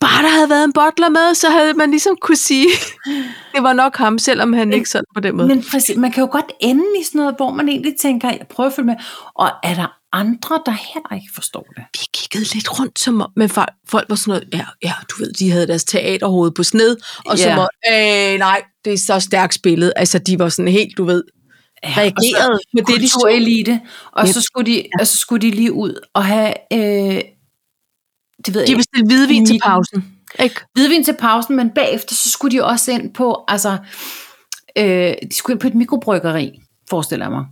B: Bare der havde været en bottler med, så havde man ligesom kunne sige, det var nok ham, selvom han ikke sådan på den måde.
A: Men præcis, man kan jo godt ende i sådan noget, hvor man egentlig tænker, jeg prøver at følge med. Og er der andre, der heller ikke forstår det?
B: vi kiggede lidt rundt, som om, men folk, folk var sådan noget, ja, ja, du ved, de havde deres teaterhoved på sned, og så
A: Ja.
B: var, øh, nej, det er så stærkt spillet. Altså, de var sådan helt, du ved, reagerede
A: og så,
B: på det, de så.
A: kulturelite, og
B: Ja.
A: så skulle de, og så skulle de lige ud og have, øh, det ved
B: De
A: jeg ikke,
B: bestilte hvidvin til
A: Nikken.
B: pausen. Ikke?
A: hvidvin til pausen, men bagefter, så skulle de også ind på, altså, øh, de skulle ind på et mikrobryggeri, forestiller jeg mig.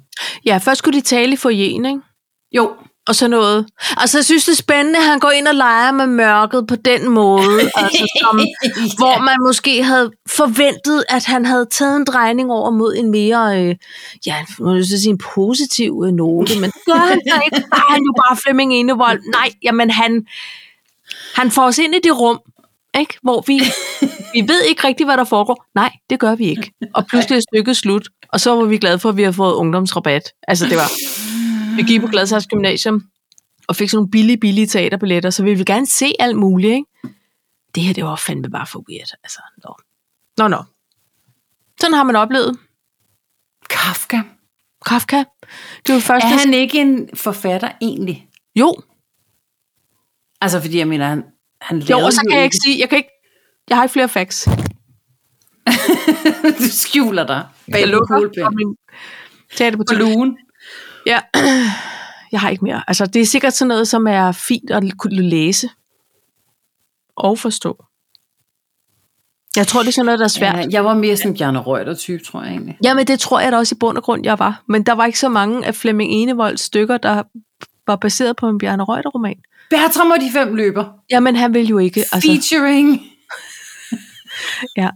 B: Ja, først skulle de tale i forjen, ikke?
A: Jo,
B: Og så noget. Altså, jeg synes, det er spændende, at han går ind og leger med mørket på den måde. altså, som, hvor man måske havde forventet, at han havde taget en drejning over mod en mere, øh, ja, man vil sige en positiv øh, note, men det gør han så ikke, der er han jo bare Flemming Enevold. Nej, jamen han, han får os ind i det rum, ikke? hvor vi, vi ved ikke rigtig, hvad der foregår. Nej, det gør vi ikke. Og pludselig er stykket slut, og så var vi glade for, at vi har fået ungdomsrabat. Altså det var, vi gik på Gladshavs Gymnasium, og fik sådan nogle billige, billige teaterbilletter, så vi ville gerne se alt muligt, ikke? det her, det var fandme bare for weird. Altså, nå. Nå, nå. Sådan har man oplevet
A: Kafka.
B: Altså, Kafka. Det var først,
A: Er han ikke en forfatter egentlig?
B: Jo,
A: Altså, fordi jeg mener, han, han
B: jo,
A: lavede
B: og så kan
A: ikke-
B: jeg ikke sige, jeg kan ikke, jeg har ikke flere facts.
A: du skjuler dig bag
B: Jeg
A: en kuglepen.
B: for min
A: på
B: teaterbutik.
A: lugen.
B: Ja, jeg har ikke mere. Altså, det er sikkert sådan noget, som er fint at kunne læse og forstå. Jeg tror, det er sådan noget, der er svært.
A: Ja, jeg var mere sådan en Bjarne Reuter-type, tror jeg egentlig.
B: Jamen, det tror jeg da også i bund og grund, jeg var. Men der var ikke så mange af Flemming Enevolds stykker, der var baseret på en Bjarne Reuter-roman.
A: Bertram og de fem løber.
B: Jamen, han vil jo ikke.
A: Altså. Featuring
B: ja.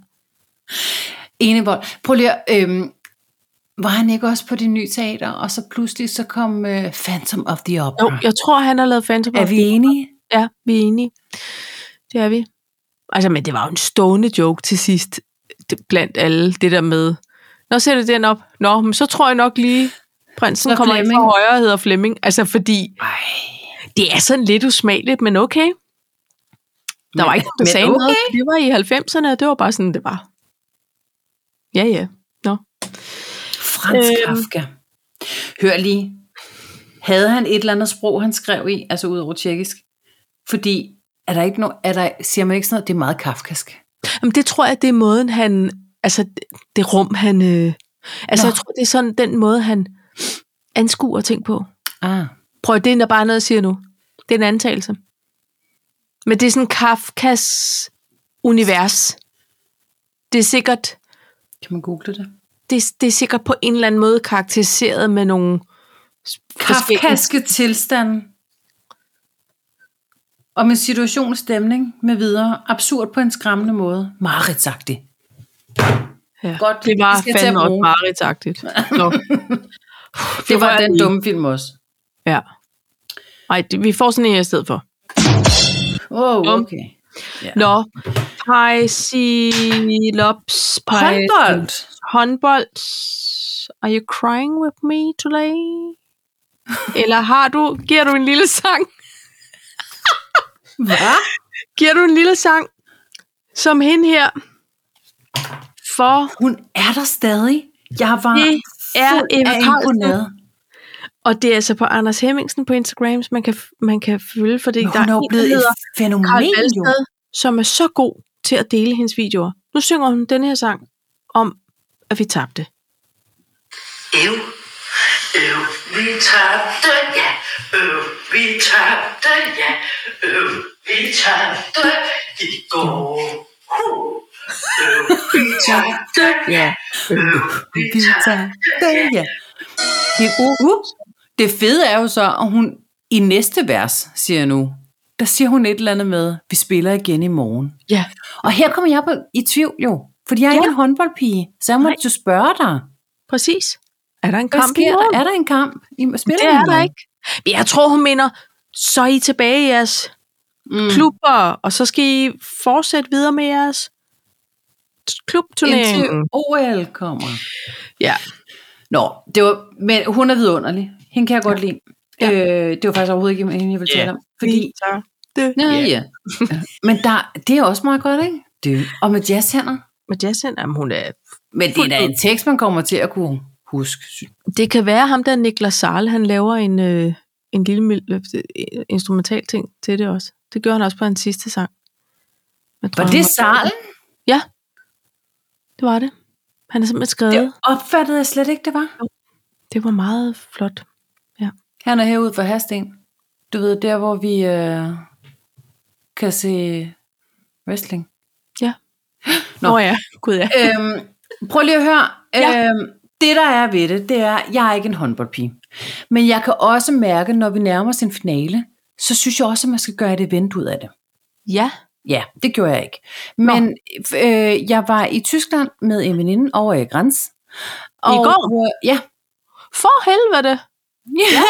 A: Enevold. Prøv lige at, øhm, var han ikke også på det nye teater, og så pludselig så kom øh, Phantom of the Opera.
B: Jo, jeg tror, han har lavet Phantom
A: Er
B: of
A: vi
B: the-
A: enige?
B: Ja, vi er enige. Det er vi. Altså, men det var jo en stående joke til sidst, det- blandt alle, det der med, Nå, ser du den op? Nå, men så tror jeg nok lige, prinsen
A: Så
B: så kommer Flemming.
A: Flemming.
B: ind fra højre og hedder Flemming. Altså, fordi
A: Ej,
B: det er sådan lidt usmageligt, men okay. Der var
A: Men-
B: ikke nogen, der
A: men
B: sagde okay. noget.
A: okay.
B: for Det var i 90'erne, og det var bare sådan, det var. Ja, ja. Nå.
A: Franz
B: Øhm.
A: øhm. Kafka. Hør lige. Havde han et eller andet sprog, han skrev i, altså udover tjekkisk? Fordi er der ikke no, er der, siger man ikke sådan noget, det er meget kafkask.
B: Jamen, det tror jeg, det er måden, han... Altså, det, det rum, han... Øh, altså, Nå.
A: Nå.
B: jeg tror, det er sådan den måde, han anskuer ting på.
A: Ah.
B: Prøv, det er der bare noget, jeg siger nu. Det er en antagelse. Men det er sådan Kafkas univers. Det er sikkert,
A: Kan man google det?
B: det, er- det er sikkert på en eller anden måde karakteriseret med nogle s- forskellige-
A: Kafkaske tilstande. Om en situation, stemning med videre. Absurd på en skræmmende måde. Mareridtsagtig.
B: Ja.
A: Godt,
B: Det var
A: det skal jeg til at
B: fandme også
A: bruge.
B: mareridtsagtigt. Nå.
A: Det var
B: rører
A: den
B: vi.
A: dumme film også.
B: Ja. Ej, det, vi får sådan en her i stedet for.
A: Wow, okay. Ja.
B: Nå, Pejsilops.
A: Håndbold.
B: Håndbold. Are you crying with me today? Eller har du, giver du en lille sang?
A: Hvad?
B: Giver du en lille sang, som hende her, for
A: Hun er der stadig. Jeg var
B: Det er
A: fuld
B: Eva
A: af
B: Carlsen.
A: imponeret.
B: Og det er altså på Anders Hemmingsen på Instagram, som man kan, man kan følge, fordi
A: Men
B: der
A: Hun er jo
B: der
A: blevet et
B: hedder
A: fænomen,
B: Carl
A: jo.
B: Valstad, som er så god til at dele hendes videoer. Nu synger hun den her sang om, at vi tabte.
C: Øv, øv, vi tabte, ja. Øv, vi tabte, ja. Øv, vi tabte i går. Huh. Øv, vi tabte, ja. Øv, vi tabte.
A: Ja. Det, uh, uh. det fede er jo så, at hun i næste vers siger jeg nu, der siger hun et eller andet med, vi spiller igen i morgen.
B: Ja.
A: Og her kommer jeg på, i tvivl jo, fordi jeg er ja.
B: Ja.
A: ikke en håndboldpige, så jeg må
B: Nej.
A: jo spørge dig,
B: Præcis. Er der en
A: hvad
B: kamp i
A: sker
B: morgen?
A: der? Er der en kamp? I, spiller
B: Det
A: I
B: er
A: i
B: der
A: morgen?
B: ikke. Jeg tror, hun mener, så er I tilbage i jeres
A: Mm.
B: klubber, og så skal I fortsætte videre med jeres t-
A: Indtil
B: klubturnering.
A: OL kommer.
B: Ja.
A: Nå, det var, men hun er vidunderlig. Hende kan jeg godt lide.
B: Ja.
A: Ja. Øh, det var faktisk overhovedet ikke hende, jeg ville tale
C: Ja.
A: om. Fordi,
B: det.
A: ja,
C: Ja.
A: ja. ja. Men der, det er også meget godt, ikke? Det. Og med jazzhænder.
B: Men Jassen, jamen, hun er
A: Men det er da en tekst, man kommer til at kunne huske.
B: Det kan være ham der Niklas Sahl, han laver en, øh, en lille mil- øh, instrumental ting til det også. Det gjorde han også på hans sidste sang. Jeg tror,
A: Var
B: han
A: det salen?
B: Det var det. Han har simpelthen skrevet.
A: Det
B: Det,
A: opfattede jeg slet ikke, det var.
B: det var meget flot.
A: Han er herude for Hasten. Du ved, der hvor vi øh, kan se wrestling. Nå.
B: Nå ja, gud ja.
A: øhm, prøv lige at høre.
B: Ja.
A: Ja. Øhm, det, der er ved det, det er, jeg er ikke en håndboldpige. Men jeg kan også mærke, når vi nærmer os en finale, så synes jeg også, at man skal gøre et event ud af det.
B: Ja,
A: Ja, det gjorde jeg ikke. Men øh, jeg var i Tyskland med en veninde over i Græns. Og,
B: går?
A: Øh, ja,
B: for helvede.
A: Ja.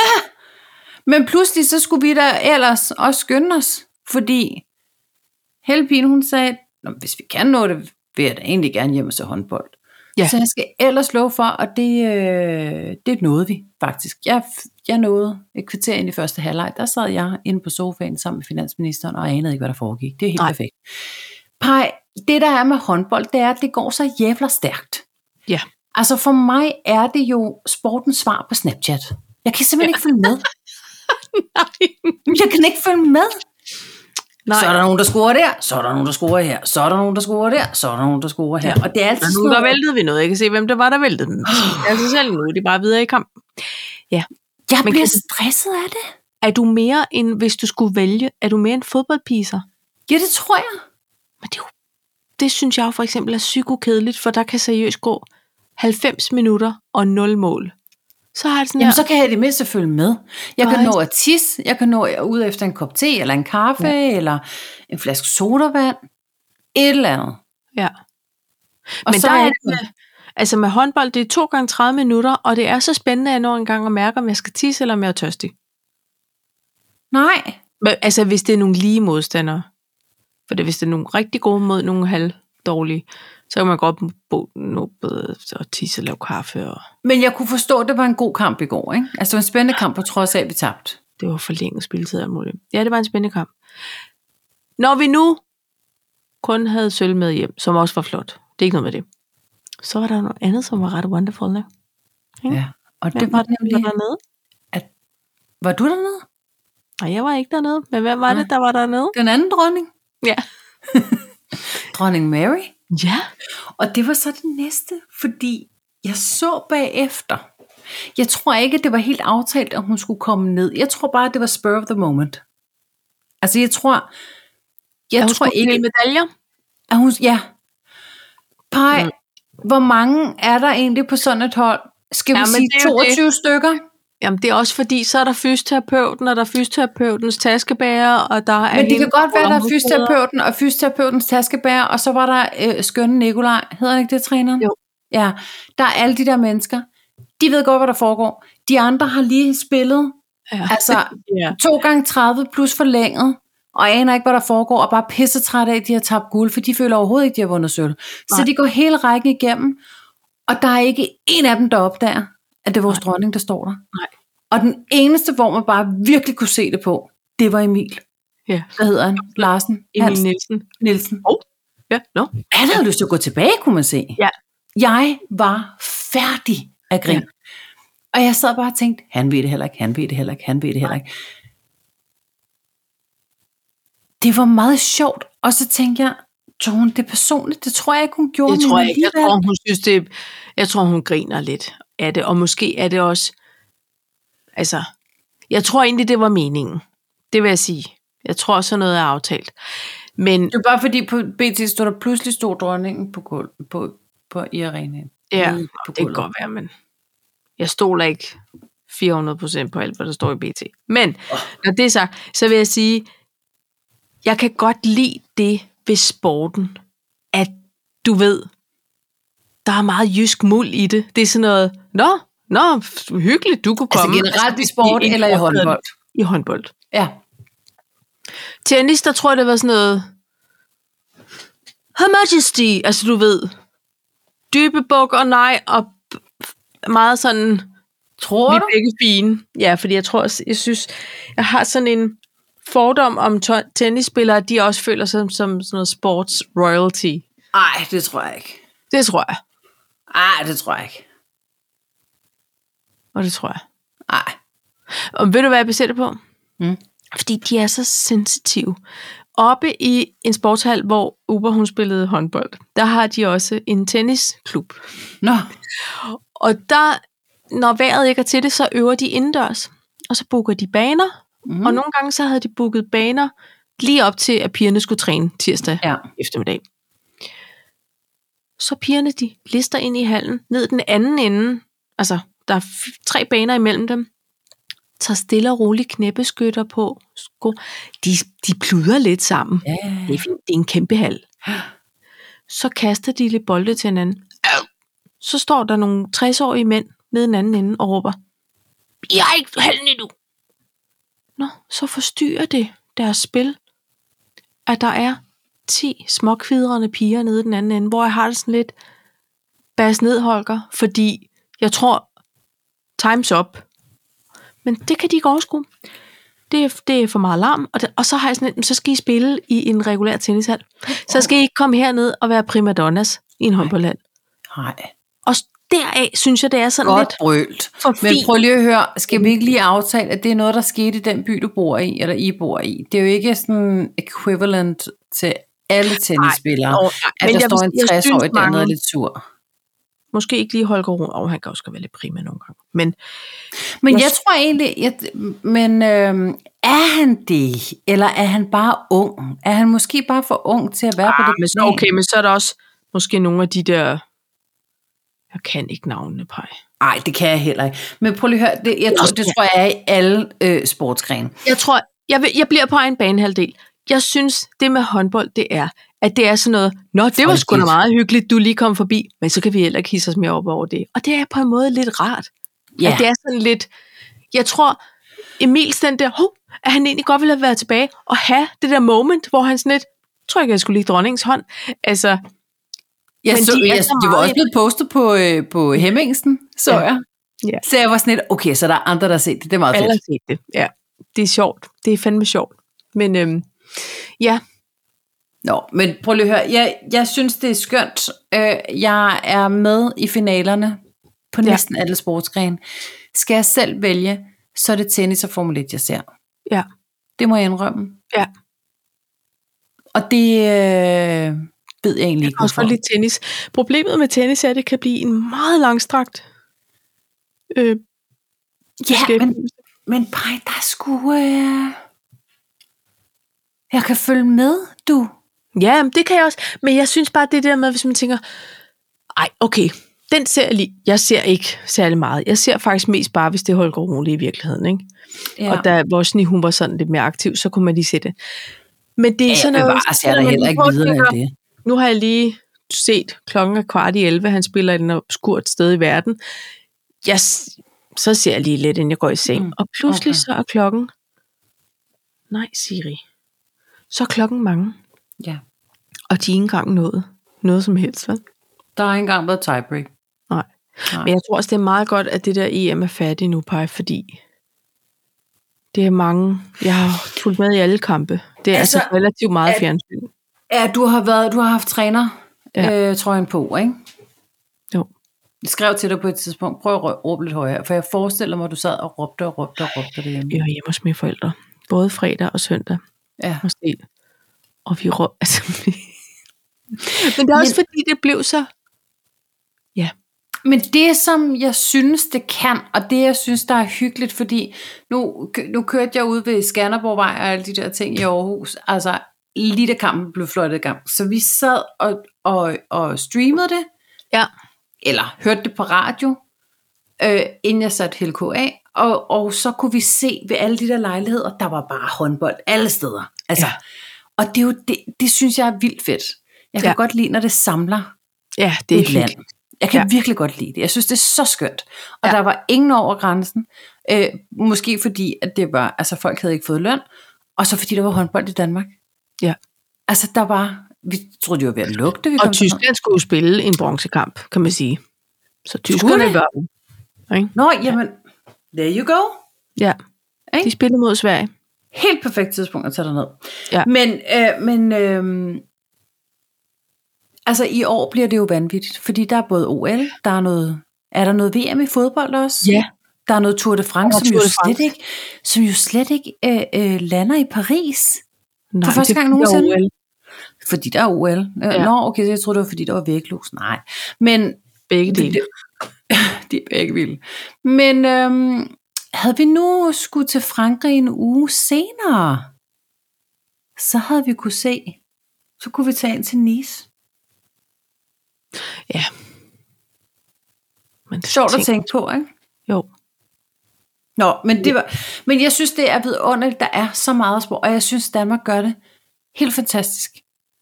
A: Men pludselig så skulle vi da ellers også skynde os, fordi Helpin hun sagde, Nå, men hvis vi kan nå det, vil jeg da egentlig gerne hjem og se håndbold.
B: Ja.
A: Ja. Så jeg skal ellers love for, og det, øh, det nåede vi faktisk. Jeg, jeg nåede et kvarter ind i første halvleg. Der sad jeg inde på sofaen sammen med finansministeren, og anede ikke, hvad der foregik. Det er helt
B: Nej.
A: Nej. perfekt. Pej, det der er med håndbold, det er, at det går så jævla stærkt.
B: Ja.
A: Altså for mig er det jo sportens svar på Snapchat. Jeg kan simpelthen ja. ikke følge med.
B: Nej.
A: Jeg kan ikke følge med. Nej. Så er
B: Nej.
A: der nogen, der scorer der, så er der nogen, der scorer her, så er der nogen, der scorer der, så er der nogen, der scorer her. Og det er altid
B: Men nu
A: sådan
B: der
A: noget-
B: væltede vi noget. Jeg kan se, hvem det var, der væltede dem. Det er sig selv nu. De er bare videre i kamp.
A: Jeg
B: Men
A: bliver
B: kan-
A: stresset af det.
B: Er du mere end, hvis du skulle vælge, er du mere en fodboldpiser?
A: Ja, det tror jeg.
B: Men det, er jo- det synes jeg jo for eksempel er psykokedeligt, for der kan seriøst gå 90 minutter og 0 mål. Så har jeg det sådan
A: Jamen,
B: her,
A: så kan jeg i det mindste følge med. Jeg kan
B: Nej.
A: nå at tisse, jeg kan nå at ud efter en kop te, eller en kaffe, ja. eller en flaske sodavand. Et eller andet.
B: ja.
A: Og
B: Men
A: så
B: der
A: er
B: er
A: jeg
B: det med, altså med håndbold, det er to gange 30 minutter, og det er så spændende, at jeg når engang at mærke, om jeg skal tisse, eller om jeg er tørstig.
A: Nej.
B: Men, altså, hvis det er nogle lige modstandere. For det, hvis det er nogle rigtig gode mod nogle halvdårlige, så kan man godt bo, nå, både og tisse og lave kaffe. Og
A: Men jeg kunne forstå, at det var en god kamp i går. Ikke? Altså det var en spændende kamp, på trods af, at vi tabte.
B: det var forlænget spilletid og alt muligt. Ja, det var en spændende kamp. Når vi nu kun havde sølv med hjem, som også var flot, det er ikke noget med det, så var der noget andet, som var ret wonderful. Ikke?
A: Ja. Og det var
B: Hvem var
A: nemlig...
B: dernede?
A: Var du dernede?
B: Nej, jeg var ikke dernede, men hvem var
A: Nej.
B: det, der var dernede?
A: Den anden dronning?
B: Ja.
A: Dronning Mary?
B: Ja.
A: Og det var så det næste, fordi jeg så bagefter. Jeg tror ikke, at det var helt aftalt, at hun skulle komme ned. Jeg tror bare, at det var spur of the moment. Altså, jeg tror... Jeg tror ikke,
B: medaljer.
A: at hun... Ja. Pej,
B: Mm.
A: hvor mange er der egentlig på sådan et hold? Skal vi
B: Ja, men
A: sige
B: det er jo
A: 22 stykker?
B: Jamen, det er også fordi, så er der fysioterapeuten, og der er fysioterapeutens taskebærer, og der er...
A: Men det
B: hende,
A: kan godt være, der er
B: bruger
A: fysioterapeuten og fysioterapeutens taskebærer, og så var der øh, skønne Nikolaj, hedder han ikke det, træneren?
B: Jo.
A: Ja, der er alle de der mennesker. De ved godt, hvad der foregår. De andre har lige spillet
B: Ja.
A: altså
B: ja.
A: 2 gange 30 plus forlænget, og aner ikke, hvad der foregår, og bare pisse træt af, at de har tabt guld, for de føler overhovedet ikke, de har vundet sølv. Så
B: Nej.
A: de går hele rækken igennem, og der er ikke en af dem, der opdager, at det er vores
B: Nej.
A: dronning, der står der.
B: Nej.
A: Og den eneste, hvor man bare virkelig kunne se det på, det var Emil.
B: Ja.
A: Hvad hedder han? Larsen?
B: Emil Nielsen.
A: Nielsen.
B: Ja, no.
A: Han havde lyst til at gå tilbage, kunne man se.
B: Ja.
A: Jeg var færdig af grin.
B: Ja.
A: Ja. Og jeg sad bare og tænkte, han ved det heller ikke, han ved det heller ikke, han ved det heller ikke. Det var meget sjovt, og så tænkte jeg, tog hun det personligt? Det tror jeg ikke, hun gjorde.
B: Det tror
A: men
B: jeg ikke. Jeg
A: alligevel-
B: tror, hun synes, det er, jeg tror, hun griner lidt af det, og måske er det også... Altså, jeg tror egentlig, det var meningen. Det vil jeg sige. Jeg tror, sådan noget er aftalt. Men
A: Det var bare fordi på BT stod der pludselig stod dronningen på, gulv, på, på i arenaen.
B: ja,
A: Nede på
B: det kan
A: gulvet.
B: godt være, men jeg stoler ikke 400% på alt, hvad der står i BT. Men når det er sagt, så vil jeg sige, jeg kan godt lide det ved sporten, at du ved, der er meget jysk muld i det. Det er sådan noget, nå, nå, f- hyggeligt, du kunne
A: Altså
B: komme.
A: generelt i sport eller i håndbold.
B: I håndbold.
A: Ja.
B: Tennis, der tror jeg, det var sådan noget, Her Majesty, altså du ved, dybe buk og nej, og p- meget sådan,
A: Tror
B: vi
A: du?
B: er begge fine. Ja, fordi jeg tror, også- jeg synes, jeg har sådan en fordom om to- tennisspillere, at de også føler sig som, som sådan noget sports royalty.
A: Nej, det tror jeg ikke.
B: Det tror jeg,
A: Nej, det tror jeg ikke.
B: og det tror jeg.
A: Nej.
B: Og ved du, hvad jeg baserer det på?
A: Mm.
B: Fordi de er så sensitive. Oppe i en sportshal, hvor Uber hun spillede håndbold, der har de også en tennisklub.
A: Nå,
B: Og der, når vejret ikke er til det, så øver de indendørs. Og så booker de baner. Mm.
A: Mhm.
B: Og nogle gange så havde de booket baner lige op til, at pigerne skulle træne tirsdag
A: ja.
B: eftermiddag. Så pigerne, de lister ind i hallen, ned den anden ende, altså der er f- tre baner imellem dem, tager stille og roligt knæbeskytter på, sko. De, de pluder lidt sammen.
A: Ja,
B: Det er fint, det er en kæmpe hal. Så kaster de lidt bolde til hinanden. Au! Så står der nogle 60-årige mænd nede i den anden ende og råber, jeg er ikke halen endnu. Nå, så forstyrrer det deres spil, at der er 10 småkvidrende piger nede i den anden ende, hvor jeg har det sådan lidt bas ned, Holger, fordi jeg tror, time's up. Men det kan de ikke overskue. Det er, det er for meget larm, og, det, og så har jeg sådan lidt, "Men så skal I spille i en regulær tennishal. Så skal I ikke komme herned og være primadonnas i en håndboldhal.
A: Nej.
B: Og s- deraf synes jeg, det er sådan
A: Godt
B: lidt
A: brølt.
B: for
A: Men
B: fint.
A: prøv lige at høre, skal vi ikke lige aftale, at det er noget, der skete i den by, du bor i, eller I bor i? Det er jo ikke sådan equivalent til alle tennisspillere,
B: Nå,
A: Ej,
B: nej,
A: at der
B: jeg
A: står
B: vil-
A: en
B: jeg synes
A: 60-årig dernede og er
B: mange-
A: lidt sur.
B: Måske ikke lige Holger Rune, og han kan også godt være lidt prima nogle gange. Men
A: Men
B: Jeg
A: jeg,
B: sy-
A: tror egentlig, jeg, men øh, er han det, eller er han bare ung? Er han måske bare for ung til at være på
B: Ah,
A: det?
B: men så,
A: plan?
B: okay, men så er der også måske nogle af de der... Jeg kan ikke navnene, Paj.
A: Nej, det kan jeg heller ikke. Men prøv lige at høre, det, jeg tror, det tror jeg er i alle øh, sportsgrene.
B: Jeg tror, jeg, vil, jeg bliver på en banehalvdel. Jeg synes, det med håndbold, det er, at det er sådan noget, Nå, det var sgu da
A: Folkeligt.
B: meget hyggeligt, du lige kom forbi, men så kan vi heller ikke hisse os mere op over det. Og det er på en måde lidt rart.
A: Ja,
B: At det er sådan lidt, jeg tror, Emils den der, hov, at han egentlig godt ville have været tilbage og have det der moment, hvor han sådan lidt, tror jeg, jeg skulle lige dronningens hånd. Altså,
A: jeg
B: men
A: så,
B: de er
A: jeg,
B: så
A: det var
B: meget
A: også
B: i-
A: blevet postet på, øh, på Hemmingsen, så
B: Ja.
A: ja. jeg.
B: Ja.
A: Så jeg var sådan lidt, okay, så der er andre, der har set det. Det er meget
B: alle
A: fedt.
B: har set det. Ja, det er sjovt. Det er fandme sjovt. Men øhm, ja,
A: Nå, men prøv lige at høre. Jeg, jeg synes, det er skønt. Øh, jeg er med i finalerne på
B: Ja.
A: næsten alle sportsgrene. Skal jeg selv vælge, så er det tennis og Formel 1, jeg ser.
B: Ja.
A: Det må jeg indrømme.
B: Ja.
A: Og det øh, ved jeg egentlig ikke,
B: også for
A: hvorfor.
B: lidt tennis. Problemet med tennis er, at det kan blive en meget langstrakt øh,
A: Ja, men,
B: beskæftigelse.
A: men Paj, der er sgu... Øh, jeg kan følge med, du.
B: Ja, men det kan jeg også. Men jeg synes bare, det der med, hvis man tænker, ej, okay, den ser jeg lige. Jeg ser ikke særlig meget. Jeg ser faktisk mest bare, hvis det er Holger Rune i virkeligheden. Ikke? Ja. Og da Vosni, hun var sådan lidt mere aktiv, så kunne man lige se det. Men det er
A: ja,
B: sådan
A: jeg
B: noget...
A: bevares, jeg er da
B: når man
A: heller ikke
B: prøver at
A: videre
B: tænke,
A: end det.
B: Nu har jeg lige set klokken er kvart i 11, han spiller et obskurt sted i verden. Jeg, s- så ser jeg lige lidt, inden jeg går i seng. Mm,
A: Mm,
B: og pludselig okay.
A: okay.
B: så er klokken... Nej, Siri. Så er klokken mange,
A: Ja.
B: og de er ikke engang nået noget som helst, vel?
A: Der har ikke engang været tiebreak.
B: Nej.
A: Nej.
B: Men jeg tror også, det er meget godt, at det der EM er fattigt nu, Paj, fordi det er mange... Jeg har fulgt med i alle kampe. Det er
A: Altså,
B: altså, altså relativt meget
A: at-
B: fjernsyn.
A: Ja, du har været, du har haft træner
B: Ja.
A: ja. øh, trøjen på, ikke?
B: Jo.
A: Jeg skrev til dig på et tidspunkt, prøv at rø- råbe lidt højere, for jeg forestiller mig, at du sad og råbte og råbte og råbte derhjemme.
B: Jeg var hjemme hos mine forældre. Både fredag og søndag.
A: Ja.
B: måske. Og vi røg, altså, vi... Men det er også Men... fordi, det blev så... Ja,
A: Men det, som jeg synes, det kan, og det, jeg synes, der er hyggeligt, fordi nu, kø- nu kørte jeg ud ved Skanderborgvej og alle de der ting i Aarhus, altså lige da kampen blev fløjtet i gang. Så vi sad og, og, og streamede det,
B: ja.
A: eller hørte det på radio, øh, inden jeg satte HLK af, og, og så kunne vi se ved alle de der lejligheder, der var bare håndbold alle steder. Altså,
B: Ja.
A: ja. Og det, er jo, det, det synes jeg er vildt fedt. Jeg kan
B: Ja.
A: ja. godt lide, når det samler
B: ja det
A: det
B: er
A: et land.
B: hyggeligt.
A: Jeg kan
B: Ja.
A: ja. virkelig godt lide det. Jeg synes, det er så skønt. Og
B: Ja.
A: ja. der var ingen over grænsen. Øh, måske fordi, at det var, altså folk havde ikke fået løn, og så fordi der var håndbold i Danmark.
B: Ja.
A: Altså, der var, vi troede, det var ved at lukke det. Vi
B: Og
A: kom til-
B: Tyskland skulle jo spille en bronzekamp, kan man sige. Så tyskerne
A: det?
B: var
A: Nå, jamen, there you go.
B: Ja,
A: Ikke?
B: de spillede mod Sverige.
A: helt perfekt tidspunkt at tage dig ned.
B: Ja.
A: Men, øh, men øh, altså i år bliver det jo vanvittigt, fordi der er både OL, der er noget, er der noget VM i fodbold også?
B: Ja.
A: Der er noget Tour de France,
B: Og
A: som,
B: Tour de
A: jo slet
B: France.
A: ikke, som jo slet ikke øh, øh, lander i Paris,
B: Nej,
A: For første
B: det
A: gang
B: bliver
A: nogensinde.
B: OL.
A: fordi der er OL. Øh,
B: Ja.
A: Nå, okay, så jeg troede, det var fordi, der var vægtlus. Nej, men
B: Begge dele.
A: de er begge vilde. Men øhm, havde vi nu skulle til Frankrig en uge senere, så havde vi kunne se, så kunne vi tage ind til Nice.
B: Men det er
A: Sjovt at
B: ting.
A: tænke på, ikke?
B: Jo.
A: Nå, men, det var, men jeg synes, det er vidunderligt, der er så meget sport, og jeg synes, Danmark gør det helt fantastisk.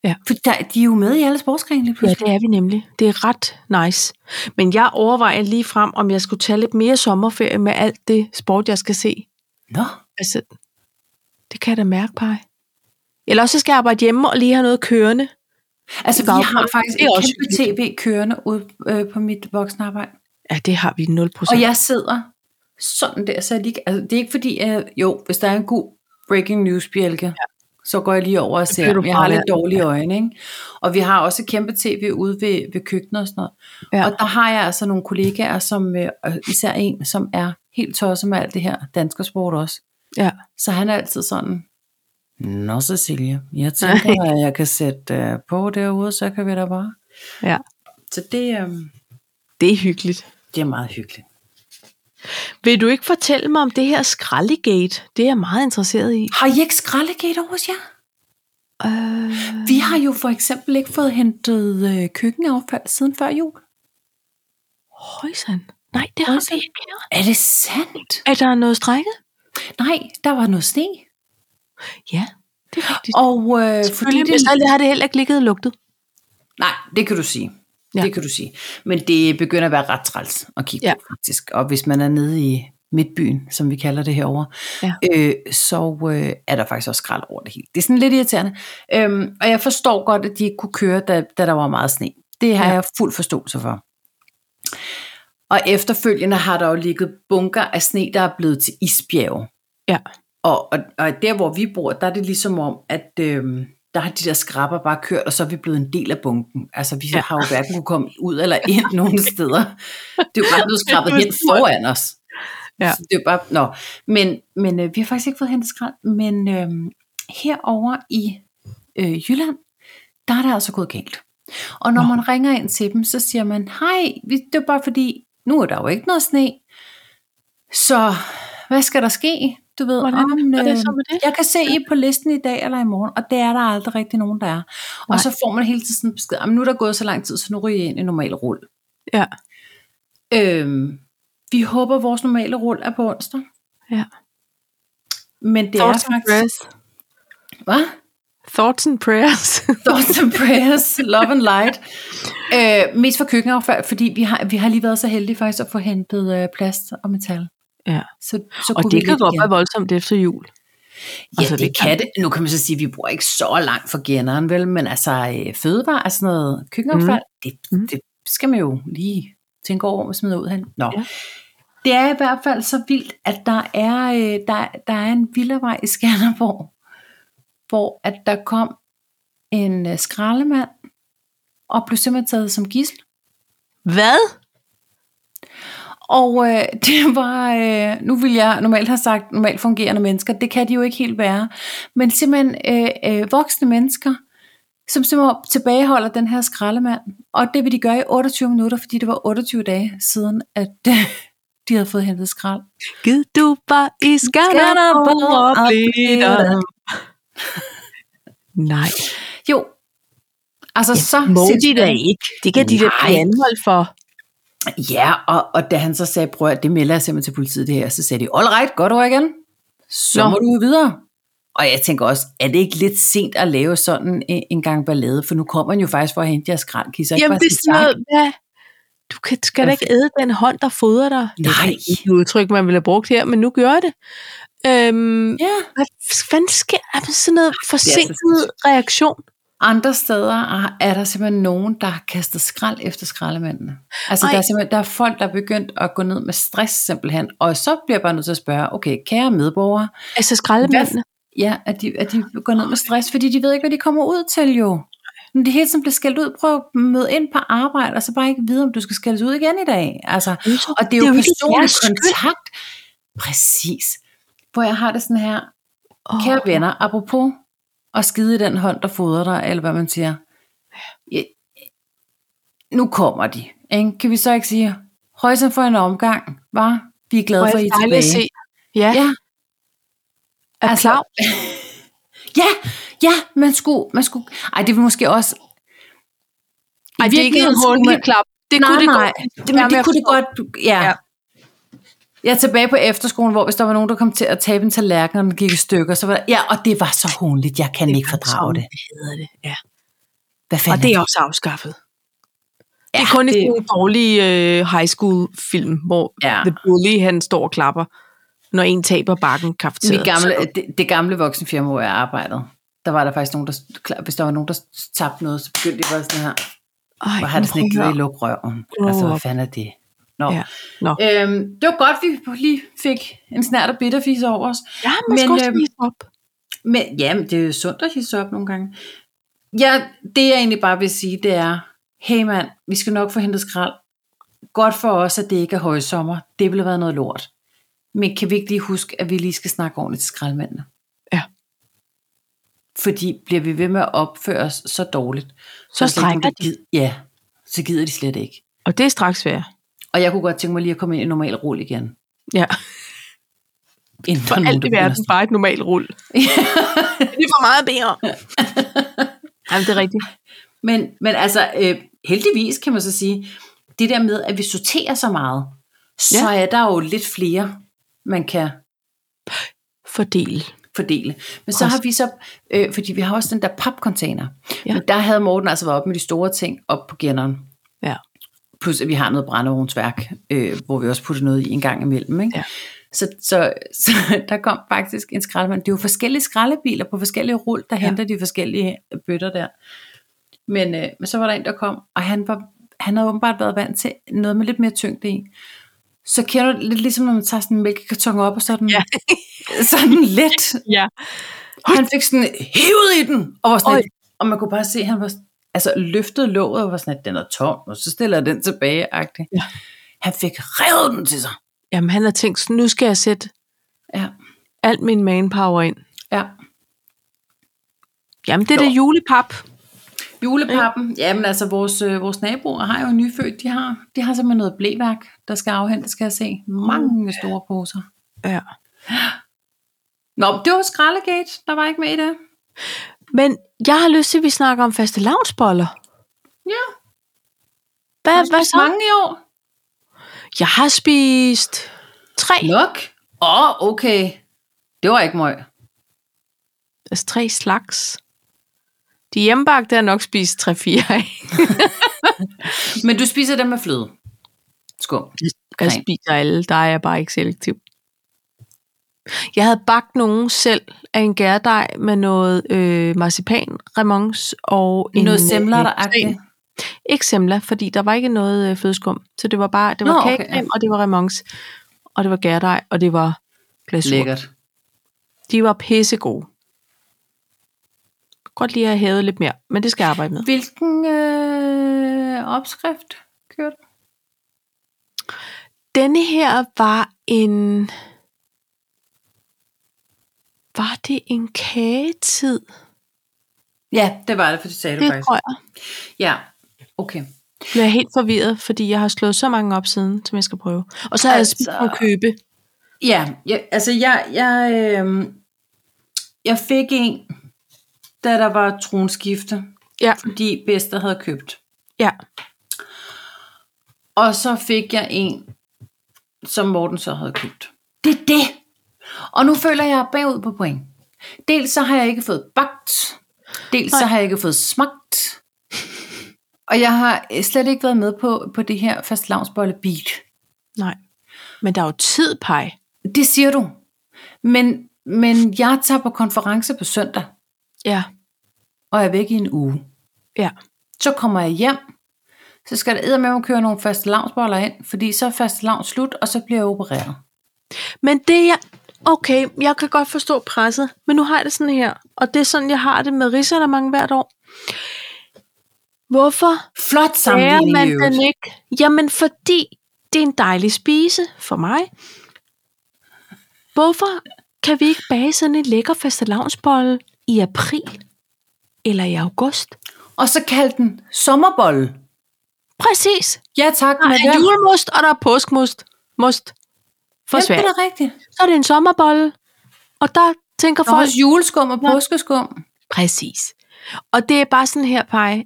B: Ja.
A: For der, de er jo med i alle sportsgrene lige
B: Ja,
A: pludselig.
B: det er vi nemlig. Det er ret nice. Men jeg overvejer lige frem, om jeg skulle tage lidt mere sommerferie med alt det sport, jeg skal se.
A: Nå,
B: Altså, det kan jeg da mærke, Paj. Eller også så skal jeg arbejde hjemme og lige have noget kørende.
A: altså
B: I
A: vi har
B: baggrunden.
A: faktisk
B: Det er
A: et
B: også
A: kæmpe tv kørende ude øh, på mit voksenarbejde.
B: Ja, det har vi 0
A: Og
B: procent.
A: jeg sidder sådan der, så er de ikke, altså, det er ikke fordi, jeg, jo, hvis der er en god breaking news bjælke, ja. så går jeg lige over og
B: bliver
A: ser,
B: du
A: men jeg har lidt
B: fraværende.
A: dårlige øjne, ikke? Og vi har også kæmpe tv ude ved, ved køkkenet og sådan noget.
B: Ja.
A: Ja. Og der har jeg altså nogle kollegaer, som øh, og især en, som er helt tosset med alt det her danskersport også.
B: Ja.
A: Så han er altid sådan, Nå Cecilie, jeg tænker, at jeg kan sætte øh, på derude, så kan vi da bare.
B: Ja.
A: Så det, øh,
B: Det er hyggeligt.
A: det er meget hyggeligt.
B: Vil du ikke fortælle mig om det her skraldegate? Det er jeg meget interesseret i.
A: Har I ikke skraldegate over hos jer?
B: Øh,
A: Vi har jo for eksempel ikke fået hentet øh, køkkenaffald siden før jul.
B: højsan. Nej, det har vi
A: Undskyld.
B: ikke.
A: Er det sandt?
B: Er der noget strækket?
A: Nej, der var noget sne.
B: Ja, det er rigtigt.
A: Og øh, fordi
B: Selvfølgelig,
A: det...
B: men så har det heller ikke ligget og lugtet.
A: Nej, det kan du sige.
B: Ja.
A: Ja. Det kan du sige. Men det begynder at være ret træls at kigge
B: Ja.
A: ja. på, faktisk. Og hvis man er nede i midtbyen, som vi kalder det herovre,
B: Ja.
A: øh, så øh, er der faktisk også skrald over det hele. Det er sådan lidt irriterende. Øhm, og jeg forstår godt, at de ikke kunne køre, da, da der var meget sne. Det har
B: Ja.
A: ja. jeg fuld forståelse for. Og efterfølgende har der jo ligget bunker af sne, der er blevet til isbjerge.
B: Ja.
A: Og, og, og der, hvor vi bor, der er det ligesom om, at øhm, der har de der skrapper bare kørt, og så er vi blevet en del af bunken. Altså, vi
B: Ja.
A: ja. har jo hverken kunne komme ud eller ind nogen steder. Det er jo bare blevet skrabet
B: Det er
A: hen foran os.
B: Ja.
A: Så det er jo bare, nå. Men, men øh, vi har faktisk ikke fået hentet skrald. Men øh, herover i øh, Jylland, der er det altså gået galt. Og når
B: Nå.
A: man ringer ind til dem, så siger man, hej, vi- det er bare fordi, nu er der jo ikke noget sne. Så hvad skal der ske? Du ved, øh,
B: Hvordan er det så med det?
A: jeg kan se I på listen i dag eller i morgen, og det er der aldrig rigtig nogen, der er.
B: Nej.
A: Og så får man hele tiden sådan besked, "Jamen, nu er der gået så lang tid, så nu ryger I ind i normal rull.
B: Ja.
A: Øhm, vi håber, at vores normale rull er på onsdag.
B: Ja.
A: Men det
B: Thoughts
A: er
B: and
A: faktisk...
B: prayers.
A: Hvad?
B: Thoughts and prayers.
A: Thoughts and prayers, love and light. Øh, mest for køkkenaffald, fordi vi har, vi har lige været så heldige faktisk at få hentet øh, plast og metal.
B: Ja.
A: Så, så
B: og
A: kunne
B: det
A: vi
B: kan
A: lidt
B: godt
A: igen.
B: være voldsomt efter jul.
A: Ja,
B: Altså,
A: altså, det,
B: det
A: det kan det. Nu kan man så sige, at vi bor ikke så langt fra generen, vel? Men altså, øh, fødevarer og sådan noget køkkenaffald, mm.
B: Mm.
A: det, det skal man jo lige tænke over, hvor man smider ud hen. Nå.
B: Ja.
A: Ja. Det er i hvert fald så vildt, at der er, øh, der, der er en villavej i Skanderborg, hvor at der kom en øh, skraldemand og blev simpelthen taget som gissel.
B: Hvad?
A: Og øh, det var, øh, nu vil jeg normalt have sagt normalt fungerende mennesker, det kan de jo ikke helt være, men simpelthen øh, øh, voksne mennesker, som simpelthen tilbageholder den her skraldemand, og det vil de gøre i 28 minutter, fordi det var 28 dage siden, at øh, de havde fået hentet skrald.
B: Gid du bare i Skanderborg og blive der. Nej,
A: Jo, altså så
B: må de
A: sindssygt.
B: da ikke. Det kan de da blive
A: Nej.
B: anholdt for.
A: Ja, og, og da han så sagde, prøv at det melder jeg simpelthen til politiet det her, så sagde de, all right, godt over igen. Så
B: Nå.
A: Nå. må du videre. Og jeg tænker også, er det ikke lidt sent at lave sådan en, en gang ballade? For nu kommer han jo faktisk for at hente jeres skraldkisser. ikke
B: Jamen,
A: bare
B: det er
A: sige
B: sådan
A: tak.
B: noget, ja, du kan, skal da ikke æde den hånd, der fodrer dig. Det er
A: Nej.
B: ikke et udtryk, man ville have brugt her, men nu gør jeg det. Øhm,
A: Ja.
B: hvad fanden sker der med sådan noget forsinket reaktion?
A: Andre steder er, er der simpelthen nogen, der har kastet skrald efter skraldemændene. Altså,
B: Ej.
A: der er, simpelthen, der er folk, der er begyndt at gå ned med stress simpelthen. Og så bliver jeg bare nødt til at spørge, okay, kære medborgere,
B: Altså skraldemændene.
A: Ja, at de, at de går ned med stress, fordi de ved ikke, hvad de kommer ud til jo. Men det hele tiden bliver skældt ud. Prøv at møde ind på arbejde, og så bare ikke vide, om du skal skældes ud igen i dag. Altså, og det er jo,
B: ikke
A: personlig
B: jeres skyld.
A: kontakt. Præcis. Hvor jeg har det sådan her.
B: Åh,
A: Kære venner, apropos at skide i den hånd, der fodrer dig, eller hvad man siger. Ja, nu kommer de. Ikke? Kan vi så ikke sige, højsen for en omgang, var Vi er glade
B: hvor
A: for,
B: er
A: at I
B: det
A: er
B: dejligt at se.
A: tilbage.
B: Ja,
A: Ja,
B: er
A: altså-
B: klar.
A: Ja, ja, man skulle, man skulle, ej, det vil måske også...
B: Ej, det er ikke en håndelig klap. Det
A: nej,
B: kunne det
A: nej,
B: godt.
A: det, men
B: Jamen,
A: det
B: jeg
A: kunne det godt, ja.
B: Ja.
A: ja. Jeg er tilbage på efterskolen, hvor hvis der var nogen, der kom til at tabe en tallerken, og den gik i stykker, så var der, ja, og det var så hånligt, jeg kan ikke fordrage det.
B: hedder det. Ja.
A: Hvad
B: Og
A: fanden
B: det er også afskaffet. Ja, det er
A: Ja,
B: kun det...
A: det-
B: en dårlig øh, high school-film, hvor ja.
A: Ja.
B: The Bully han står og klapper, når en taber bakken kaffeteret.
A: Mit gamle, det, det gamle voksenfirma, hvor jeg arbejdede, der var der faktisk nogen, der, klar- hvis der var nogen, der tabte noget, så begyndte de bare sådan her,
B: Ej,
A: hvor har det sådan ikke givet i
B: prøv
A: lukke røven.
B: Grow
A: Altså, hvad
B: up.
A: fanden er det? Nå.
B: Ja. Nå.
A: Øhm, det var godt, vi lige fik en snært og bitterfis over os.
B: at- Ja, man
A: Men,
B: skal også
A: øhm,
B: vise op.
A: Men ja, men det er jo sundt at hisse op nogle gange. Ja, det jeg egentlig bare vil sige, det er, hey mand, vi skal nok få hentet skrald. Godt for os, at det ikke er højsommer. Det ville have været noget lort. Men kan vi ikke lige huske, at vi lige skal snakke ordentligt til skraldmændene?
B: Ja.
A: Fordi bliver vi ved med at opføre os så dårligt,
B: Så
A: er det slet ikke nogen,
B: strækker
A: der gid- Ja, så gider de slet ikke.
B: Og det er straks værd.
A: Og jeg kunne godt tænke mig lige at komme ind i normal rulle igen.
B: Ja,
A: Inden
B: for
A: der er nogen,
B: alt i
A: der
B: verden bare et normalt rull. det er for meget bedre. Jamen, det er rigtigt.
A: Men, men altså, øh, heldigvis kan man så sige, det der med, at vi sorterer så meget, så ja. er der jo lidt flere, man kan
B: Fordel.
A: fordele. Men så
B: Præcis.
A: har vi så, øh, fordi vi har også den der papcontainer.
B: Ja.
A: Ja. Men der havde Morten altså været op med de store ting op på genneren.
B: Ja.
A: Plus at vi har noget brændeovnsværk, øh, hvor vi også putter noget i en gang imellem. Ikke?
B: Ja.
A: Så, så, så der kom faktisk en skraldemand. Det er jo forskellige skraldebiler på forskellige rull, der
B: Ja.
A: ja. henter de forskellige øh, bøtter der. Men, øh, men så var der en, der kom, og han, var, han havde åbenbart været vant til noget med lidt mere tyngde i. Så kender du det lidt ligesom, når man tager sådan en mælkekarton op, og så er den
B: Ja.
A: ja. sådan let.
B: Ja.
A: Han fik sådan hævet i den, og var sådan
B: Oj.
A: et, og man kunne bare se, at han var altså, løftede låget, og var sådan, at den er tom, og så stiller jeg den tilbage -agtig.
B: Ja.
A: Han fik revet den til sig.
B: Jamen, han har tænkt, sådan, nu skal jeg sætte
A: Ja,
B: alt min manpower ind.
A: ja.
B: Jamen, det er
A: Jo.
B: det julepap.
A: Julepappen, ja. men altså vores, øh, vores naboer har jo en nyfødt, de har, de har simpelthen noget blæværk, der skal afhentes, skal jeg se. Mange store poser.
B: Ja.
A: Nå, men det var Skrallegate, der var ikke med i det.
B: Men jeg har lyst til, at vi snakker om faste lavnsboller.
A: Ja,
B: Hvad, hvad så?
A: mange i år.
B: Jeg har spist tre.
A: Nok? Åh, oh, okay. Det var ikke møg.
B: Altså tre slags. De hjemmebagte har nok spist tre fire af.
A: Men du spiser dem med fløde. Skum.
B: Jeg
A: Nej.
B: spiser alle, der er jeg bare ikke selektiv. Jeg havde bagt nogen selv af en gærdej med noget øh, marcipan, remons og en,
A: Noget
B: øh,
A: semler, der
B: creme.
A: agtigt.
B: Ikke semler, fordi der var ikke noget øh, flødeskum. Så det var bare, det var
A: Nå,
B: Nå,
A: okay,
B: kagecreme, okay, og det var remons, og det var gærdej, og det var glasur.
A: Lækkert.
B: De var pissegode. Godt lige at have hævet lidt mere, men det skal jeg arbejde med.
A: Hvilken øh, opskrift kører du?
B: Denne her var en... Var det en kagetid?
A: Ja, det var det, for det sagde du
B: Det
A: faktisk.
B: tror jeg.
A: Ja, okay.
B: Blev jeg helt forvirret, fordi jeg har slået så mange op siden, som jeg skal prøve. Og så har altså... jeg
A: Altså-
B: spist på købe.
A: Ja, jeg, altså jeg, jeg, øh, jeg fik en, da der var tronskifte,
B: Ja,
A: fordi bedste havde købt.
B: ja.
A: Og så fik jeg en, som Morten så havde købt. Det er det. Og nu føler jeg bagud på point. Dels så har jeg ikke fået bagt. Dels
B: Nej.
A: så har jeg ikke fået smagt. Og jeg har øh, slet ikke været med på, på det her fastelavnsbolle beat.
B: Nej. Men der er jo tid, Paj.
A: Det siger du. Men, men jeg tager på konference på søndag,
B: Ja,
A: og er væk i en uge.
B: ja.
A: Så kommer jeg hjem, så skal der med at køre nogle fastelavnsboller ind, fordi så er fastelavn slut, og så bliver jeg opereret.
B: Men det jeg... Okay, jeg kan godt forstå presset, men nu har jeg det sådan her. Og det er sådan, jeg har det med risalamande hvert år. Hvorfor
A: Flot
B: er
A: sammenligning
B: man
A: i øvrigt.
B: den ikke? Jamen, fordi det er en dejlig spise for mig. Hvorfor kan vi ikke bage sådan en lækker fastelavnsbolle i april eller i august?
A: Og så kald den sommerbolle.
B: Præcis.
A: Ja tak,
B: Der
A: men
B: er julemost, og der er påskmost. Most. For
A: Ja,
B: svært.
A: det er da rigtigt.
B: Så er det en sommerbolle, og der tænker
A: Der er
B: folk...
A: også juleskum og påskeskum.
B: Præcis. Og det er bare sådan her, Paj.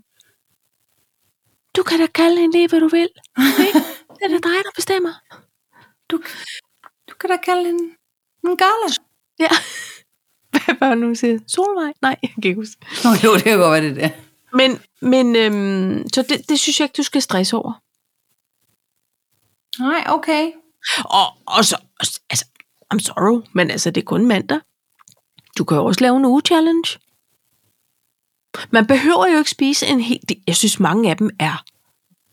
B: Du kan da kalde hende lige, hvad du vil. ikke? det er da dig, der bestemmer.
A: Du kan da kalde den en gala.
B: Ja. Hvad var det nu, hun siger? Solvej? Nej, jeg kan ikke huske.
A: Nå jo, det kan godt være det der.
B: Men, men øhm, så det, det synes jeg ikke, du skal stresse over.
A: Nej, okay.
B: Og, og så, altså, I'm sorry, men altså, det er kun mandag. Du kan jo også lave en uge-challenge. Man behøver jo ikke spise en hel... det- Jeg synes, mange af dem er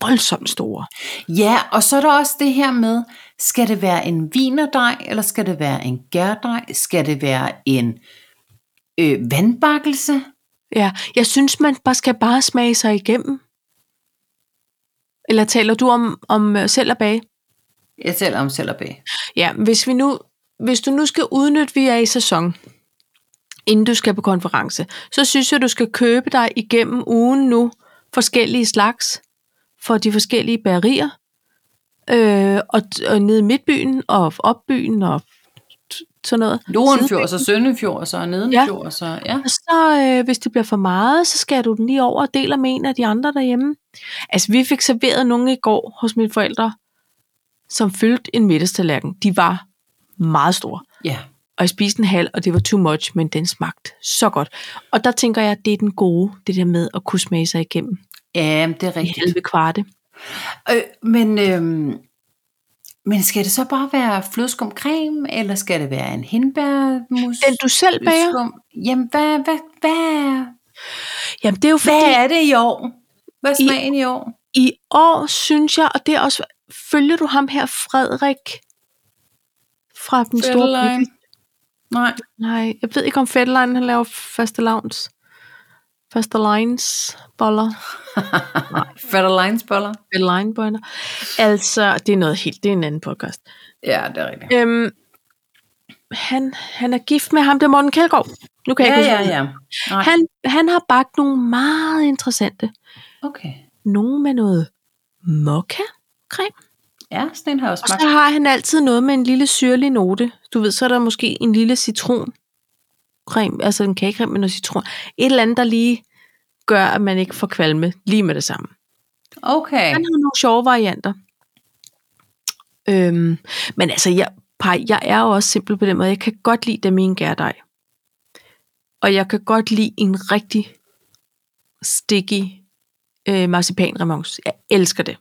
B: voldsomt store.
A: Ja, og så er der også det her med, skal det være en vinerdej, eller skal det være en gærdej? Skal det være en øh, vandbakkelse?
B: Ja, jeg synes, man bare skal bare smage sig igennem. Eller taler du om, om øh, selv og bage?
A: Jeg taler om selv og bag.
B: Ja, hvis, vi nu, hvis du nu skal udnytte, vi er i sæson, inden du skal på konference, så synes jeg, du skal købe dig igennem ugen nu forskellige slags for de forskellige bagerier. Øh, og, og nede i midtbyen og opbyen og t- sådan noget.
A: Lorenfjord, så Søndenfjord, så Nedenfjord, så ja.
B: Og så øh, hvis det bliver for meget, så skærer du den lige over og deler med en af de andre derhjemme. Altså, vi fik serveret nogle i går hos mine forældre, som fyldte en middagstallerken. De var meget store.
A: Ja.
B: Og jeg spiste en halv, og det var too much, men den smagte så godt. Og der tænker jeg, at det er den gode, det der med at kunne smage sig igennem
A: Ja, det er
B: i
A: rigtigt.
B: halve kvarte.
A: Øh, men, øh, men skal det så bare være flødeskum creme, eller skal det være en hindbærmus?
B: Den du selv bager?
A: skum? Jamen, hvad, hvad, hvad,
B: Jamen det er jo fordi,
A: hvad er det i år? Hvad er
B: I-
A: smagen i år?
B: i år synes jeg, og det er også, følger du ham her, Frederik? Fra den store
A: Fetterlein? Nej.
B: Nej, jeg ved ikke om Fetterlein, han laver faste lavns. Faste lines, boller.
A: Fetterleins boller?
B: Fetterlein boller. Altså, det er noget helt, det er en anden podcast.
A: Ja, det er rigtigt.
B: Øhm, han, han er gift med ham, det er Morten Kjeldgaard. Nu kan jeg
A: Ja,
B: ikke
A: ja,
B: huske, hvad han
A: ja.
B: hedder.
A: Nej,
B: Han, han har bagt nogle meget interessante.
A: okay.
B: Nogle med noget mokka creme.
A: Ja, sådan en har jeg også
B: Og
A: smagt.
B: så har han altid noget med en lille syrlig note. Du ved, så er der måske en lille citroncreme, altså en kagecreme med noget citron. Et eller andet, der lige gør, at man ikke får kvalme lige med det samme.
A: Okay.
B: Han har nogle sjove varianter. Øhm, men altså, jeg, pej, jeg er jo også simpel på den måde. Jeg kan godt lide dem i en gærdej. Og jeg kan godt lide en rigtig sticky øh, marcipanremonce. Jeg elsker det.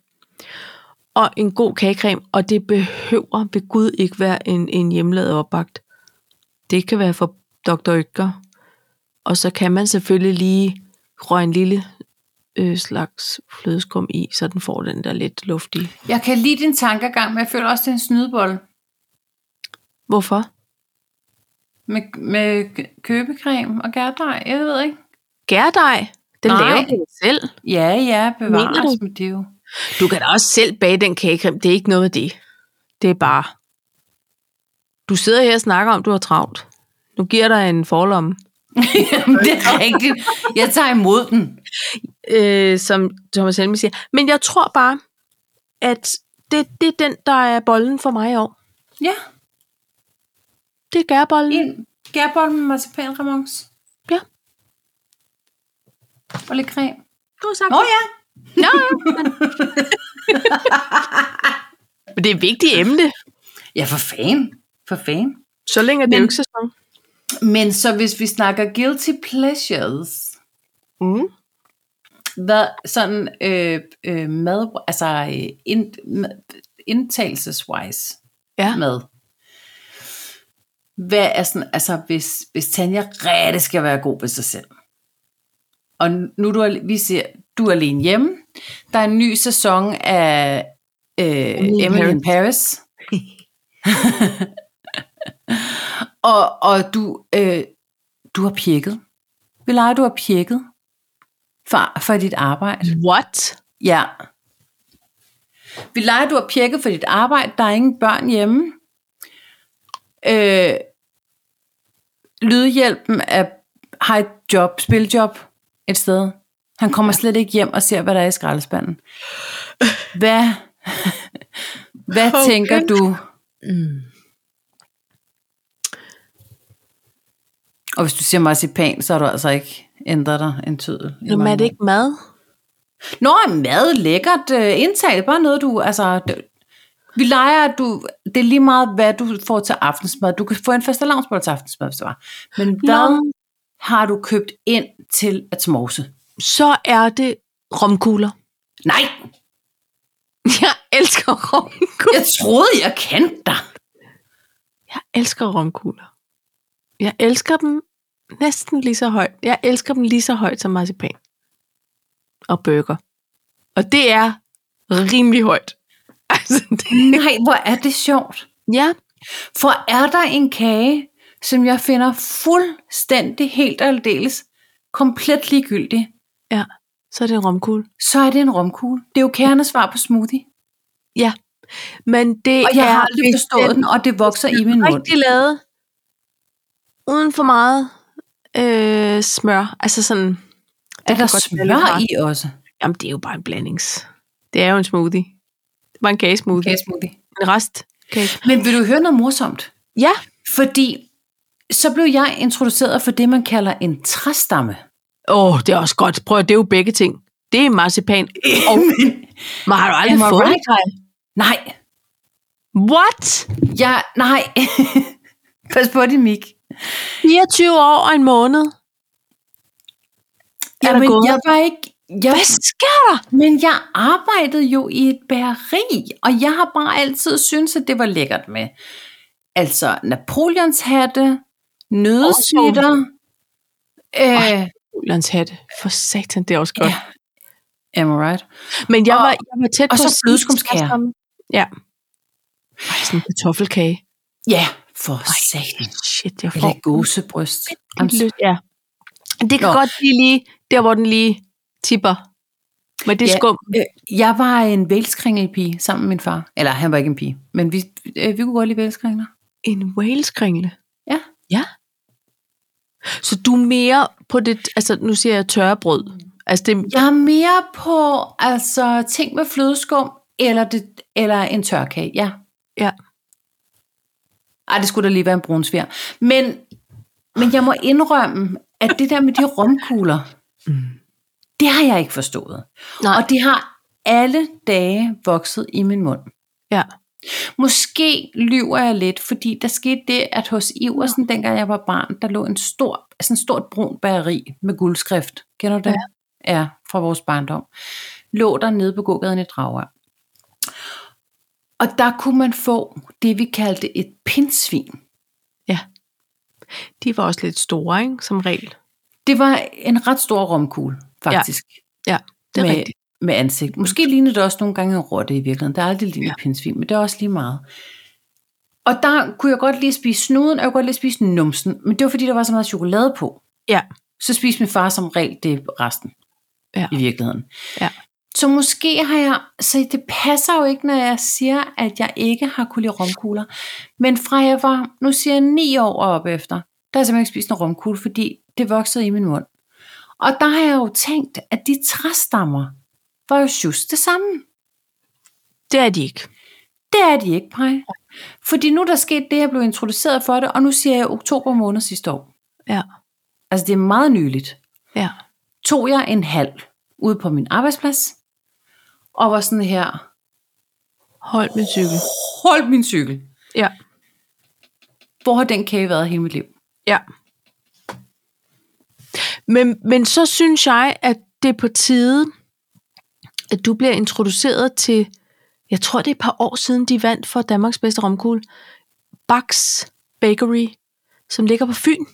B: Og en god kagecreme, og det behøver ved Gud ikke være en, en hjemmelavet opbagt. Det kan være for Dr. Ytger. Og så kan man selvfølgelig lige røre en lille øh, slags flødeskum i, så den får den der lidt luftige.
A: Jeg kan lide din tankegang, men jeg føler også, det er en snydebold
B: Hvorfor?
A: med, med k- købecreme og gærdej. Jeg ved ikke.
B: Gærdej. Den
A: Nej.
B: laver du selv.
A: Ja, ja,
B: Mener du?
A: bevares med det er jo.
B: Du kan da også selv bage den kagecreme. Det er ikke noget af det. Det er bare... Du sidder her og snakker om, du har travlt. Nu giver dig en forlomme,
A: Jamen, det er rigtigt. Jeg tager imod den.
B: øh, som Thomas Helme siger. Men jeg tror bare, at det, det er den, der er bolden for mig i år.
A: Ja,
B: Det er gærbolden.
A: en gærbold med marcipanremonce.
B: Ja.
A: Og lidt creme.
B: Du har sagt
A: Nå
B: det.
A: ja,
B: Nå, ja. Men... Men det er et vigtigt emne.
A: ja for fan. For fan.
B: Så længe er det
A: Men-
B: jo ikke sæson.
A: Men så hvis vi snakker guilty pleasures,
B: Mm.
A: hvad sådan øh, øh, mad, altså øh, ind, mad- indtagelseswise
B: Ja.
A: mad. Hvad er sådan, altså hvis, hvis Tanja rigtig skal være god ved sig selv. Og nu er du, al- vi siger, du er alene hjemme. Der er en ny sæson af øh,
B: in
A: Emily in Paris. og, og du, øh, du har pjekket. Vi leger, du har pjekket for, for dit arbejde.
B: What?
A: Ja. Vi leger, du har pjekket for dit arbejde. Der er ingen børn hjemme. Øh, lydhjælpen er, har et job, spiljob et sted. Han kommer slet ikke hjem og ser, hvad der er i skraldespanden. Hvad, hvad
B: Okay.
A: okay. tænker du?
B: Mm.
A: Og hvis du siger marcipan, så har du altså ikke ændret dig en tydel. i
B: Nå, men
A: mange
B: er det
A: år.
B: ikke mad?
A: Nå, mad lækkert øh, indtag. Det er bare noget, du... Altså, det, vi leger, at du, det er lige meget, hvad du får til aftensmad. Du kan få en faste til aftensmad, hvis det var. Men hvad
B: Nå.
A: har du købt ind til at smorse?
B: Så er det romkugler.
A: Nej,
B: Jeg elsker romkugler.
A: jeg troede, jeg kendte dig.
B: Jeg elsker romkugler. Jeg elsker dem næsten lige så højt. Jeg elsker dem lige så højt som marcipan. Og burger. Og det er rimelig højt. Altså, det,
A: Nej, hvor er det sjovt.
B: ja,
A: For er der en kage, som jeg finder fuldstændig helt og aldeles komplet ligegyldig,
B: ja. Så er det en romkugle.
A: så er det en romkugle. Det er jo kærende svar på smoothie.
B: Ja. Men det
A: Og jeg
B: er,
A: har aldrig
B: hvis
A: forstået den, og det vokser i min mund.
B: rigtig lavet. Uden for meget øh, smør. Altså sådan...
A: Er der
B: kan godt være lidt
A: smør
B: rart.
A: i også?
B: Jamen, det er jo bare en blandings. Det er jo en smoothie. Det var en kagesmoothie. Okay.
A: Kagesmoothie.
B: En rest. Kage.
A: Men vil du høre noget morsomt?
B: Ja.
A: Fordi så blev jeg introduceret for det, man kalder en træstamme.
B: Åh, oh, det er også godt. Prøv at det er jo begge ting. Det er marcipan. Og, men har du aldrig
A: Am I
B: fået
A: right?
B: right?
A: Nej,
B: What?
A: Jeg, nej. Pas på din mik.
B: 24 år og en måned? Er der
A: Jamen,
B: gået?
A: jeg var ikke... Jeg,
B: Hvad sker der?
A: men jeg arbejdede jo i et bageri, og jeg har bare altid syntes, at det var lækkert med. Altså, Napoleons hatte, nødsnitter, øh,
B: Ulans hatte. For satan, det er også godt. Ja.
A: am I right?
B: Men jeg,
A: Og-
B: var, jeg var tæt
A: og
B: på...
A: så
B: at sige
A: flødeskumskager.
B: til ham- Ja. Ej, sådan en kartoffelkage.
A: Ja, for satan.
B: Shit, jeg får...
A: Eller gåsebryst.
B: en lyst. Ja. Det kan
A: Nå.
B: godt blive lige der, hvor den lige tipper. Men det er
A: Ja.
B: skum.
A: Øh, jeg var en vælskringelpige sammen med min far. Eller han var ikke en pige, men vi, øh, vi kunne godt lide vælskringler.
B: En whaleskringle?
A: Ja.
B: Ja. Så du er mere på det, altså nu siger jeg tørrebrød. Altså det,
A: Jeg er mere på altså, ting med flødeskum eller, det, eller en tørkage, ja.
B: Ja.
A: Ej, det skulle da lige være en brun svær. Men, men jeg må indrømme, at det der med de romkugler, det har jeg ikke forstået.
B: Mm. Nej.
A: Og det har alle dage vokset i min mund.
B: ja.
A: Måske lyver jeg lidt, fordi der skete det, at hos Iversen, dengang jeg var barn, der lå en stor, sådan et stort brun bageri med guldskrift. Kender du det? Ja. ja, fra vores barndom. Lå der nede på gågaden i Dragør. Og der kunne man få det, vi kaldte et pindsvin.
B: De var også lidt store, ikke? Som regel.
A: Det var en ret stor romkugle, faktisk.
B: Ja, det er
A: med,
B: rigtigt.
A: med ansigt. Måske ligner det også nogle gange en rotte i virkeligheden. Der er aldrig lignet ja. pindsvin, men det er også lige meget. Og der kunne jeg godt lige spise snuden, og jeg kunne godt lige spise numsen, men det var fordi, der var så meget chokolade på.
B: Ja.
A: Så spiste min far som regel det resten
B: Ja.
A: i virkeligheden.
B: Ja.
A: Så måske har jeg, så det passer jo ikke, når jeg siger, at jeg ikke har kunne lide romkugler. Men fra jeg var, nu siger jeg ni år og op efter, der har jeg simpelthen ikke spist en romkugle, fordi det voksede i min mund. Og der har jeg jo tænkt, at de træstammer var jo just det samme.
B: Det er de ikke.
A: Det er de ikke, Paj. Fordi nu er der sket det, jeg blev introduceret for det, og nu siger jeg oktober måned sidste år.
B: Ja,
A: Altså det er meget nyligt.
B: ja.
A: Tog jeg en halv ude på min arbejdsplads, og var sådan her,
B: Hold med cykel.
A: hold min cykel.
B: Ja,
A: Hvor har den kage været hele mit liv?
B: ja. Men, men så synes jeg, at det er på tide, at du bliver introduceret til, jeg tror det er et par år siden, de vandt for Danmarks bedste romkugle, Bucks Bakery, som ligger på Fyn.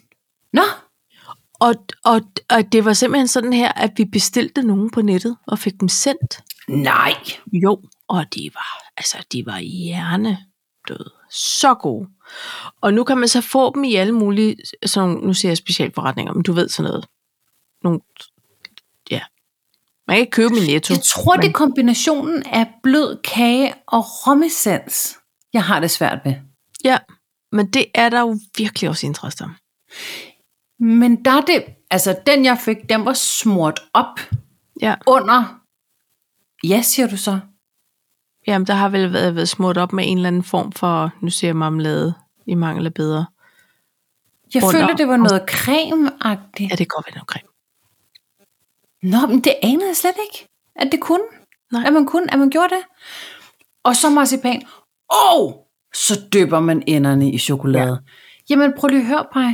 A: Nå,
B: Og, og, og det var simpelthen sådan her, at vi bestilte nogen på nettet og fik dem sendt.
A: nej.
B: Jo, og de var, altså, de var hjernedøde. Så gode. Og nu kan man så få dem i alle mulige, sådan, nogle- nu siger jeg specialforretninger, men du ved sådan noget. Nogle, ja. Man kan ikke købe dem i netto.
A: Jeg tror,
B: men,
A: det er kombinationen af blød kage og romessens, jeg har det svært ved.
B: Ja, men det er der jo virkelig også interesse om.
A: Men der er det, altså den jeg fik, den var smurt op
B: Ja,
A: under, ja siger du så,
B: jamen der har vel været, været smurt op med en eller anden form for, nu siger jeg marmelade, i mangel af bedre.
A: Jeg
B: Under-
A: Under. føler, det var noget cremeagtigt.
B: Ja, det går vel nok creme.
A: Nå, men det anede jeg slet ikke, at det kunne.
B: Nej.
A: At man kunne, at man gjorde det. Og så marcipan. Og så dypper man enderne i chokolade. Ja. Jamen, prøv lige at høre, Paj.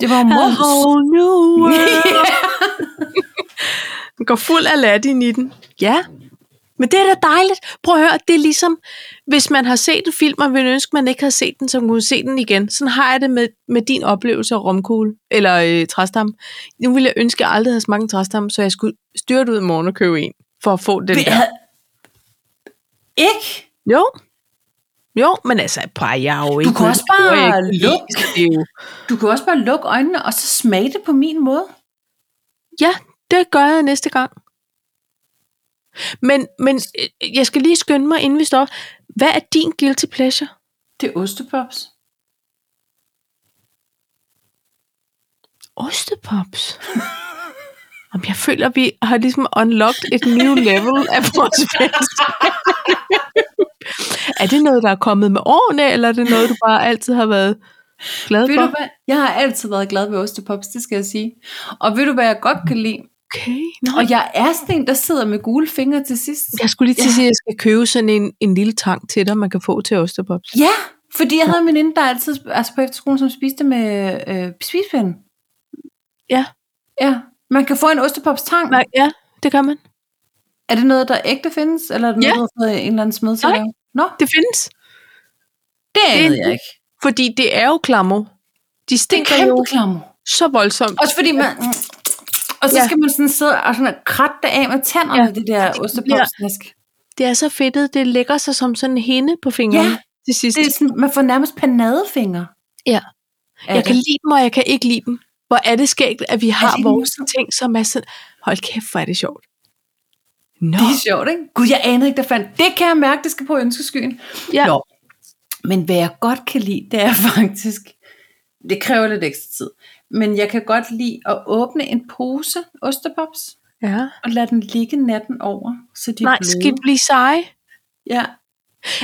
A: Det var jo
B: A
A: mors.
B: whole new world. Den går fuld Aladdin i den. Ja, men det er da dejligt. Prøv at høre, det er ligesom, hvis man har set en film, og ville ønske, man ikke havde set den, så kunne se den igen. Sådan har jeg det med, med din oplevelse af romkugle, eller øh, træstamme. Nu ville jeg ønske, at jeg aldrig havde smagt en træstamme, så jeg skulle styrte ud i morgen og købe en, for at få den
A: Vi
B: der.
A: havde... Ikke?
B: Jo. Jo, men altså, prøv, jeg er jo ikke...
A: kan også
B: jeg er
A: bare
B: ikke-
A: lukke.
B: så Det er jo,
A: Du kan også bare lukke øjnene, og så smage det på min måde.
B: Ja, det gør jeg næste gang. Men, men øh, jeg skal lige skynde mig, inden vi står. Hvad er din guilty pleasure?
A: Det er ostepops.
B: Ostepops. Jamen, jeg føler, vi har ligesom unlocked et new level af vores venskab. Er det noget, der er kommet med årene, eller er det noget, du bare altid har været glad
A: Ved
B: for?
A: du hvad? Jeg har altid været glad ved ostepops, det skal jeg sige. Og ved du, hvad jeg godt kan lide?
B: Okay. Nå,
A: Og jeg er sådan en, der sidder med gule fingre til sidst.
B: jeg skulle lige til at sige, at jeg skal købe sådan en, en lille tang til dig, man kan få til Osterpops.
A: Ja, fordi jeg havde en veninde, der altid altså på efterskolen, som spiste med øh, spisepinden.
B: Ja.
A: Ja. Man kan få en ostepopstang.
B: Nej, ja, det gør man.
A: Er det noget, der ægte findes, eller er det
B: Ja.
A: noget, du har fået en eller anden smed til at
B: Nej.
A: lave? Nå,
B: Det findes.
A: det
B: Det er
A: anede
B: en-
A: jeg ikke.
B: Fordi det er jo klammer. De
A: Det er en
B: stinker jo
A: kæmpe klammer.
B: så voldsomt.
A: Også fordi man... Og så
B: Ja.
A: ja. skal man sådan sidde og sådan kratte det af med tænderne,
B: Ja.
A: ja. det der ostepopsnask.
B: Det er så fedtet, det lægger sig som sådan en hende på fingrene
A: Ja,
B: til sidst.
A: Altså, Det er sådan, man får nærmest panadefingre.
B: Ja.
A: af
B: Jeg
A: det.
B: kan lide dem, og jeg kan ikke lide dem. Hvor er det skægt, at vi har
A: det
B: vores
A: morsomt?
B: ting, som er sådan... Hold kæft, hvor er det sjovt. Nå,
A: Det er sjovt, ikke? Gud, jeg anede ikke, der fandt. Det kan jeg mærke, det skal på ønskeskyen.
B: Ja.
A: Nå. Men hvad jeg godt kan lide, det er faktisk... Det kræver lidt ekstra tid. Men jeg kan godt lide at åbne en pose ostepops
B: ja.
A: og lade den ligge natten over, så de
B: Nej,
A: er
B: skal
A: bløde.
B: de blive seje?
A: Ja.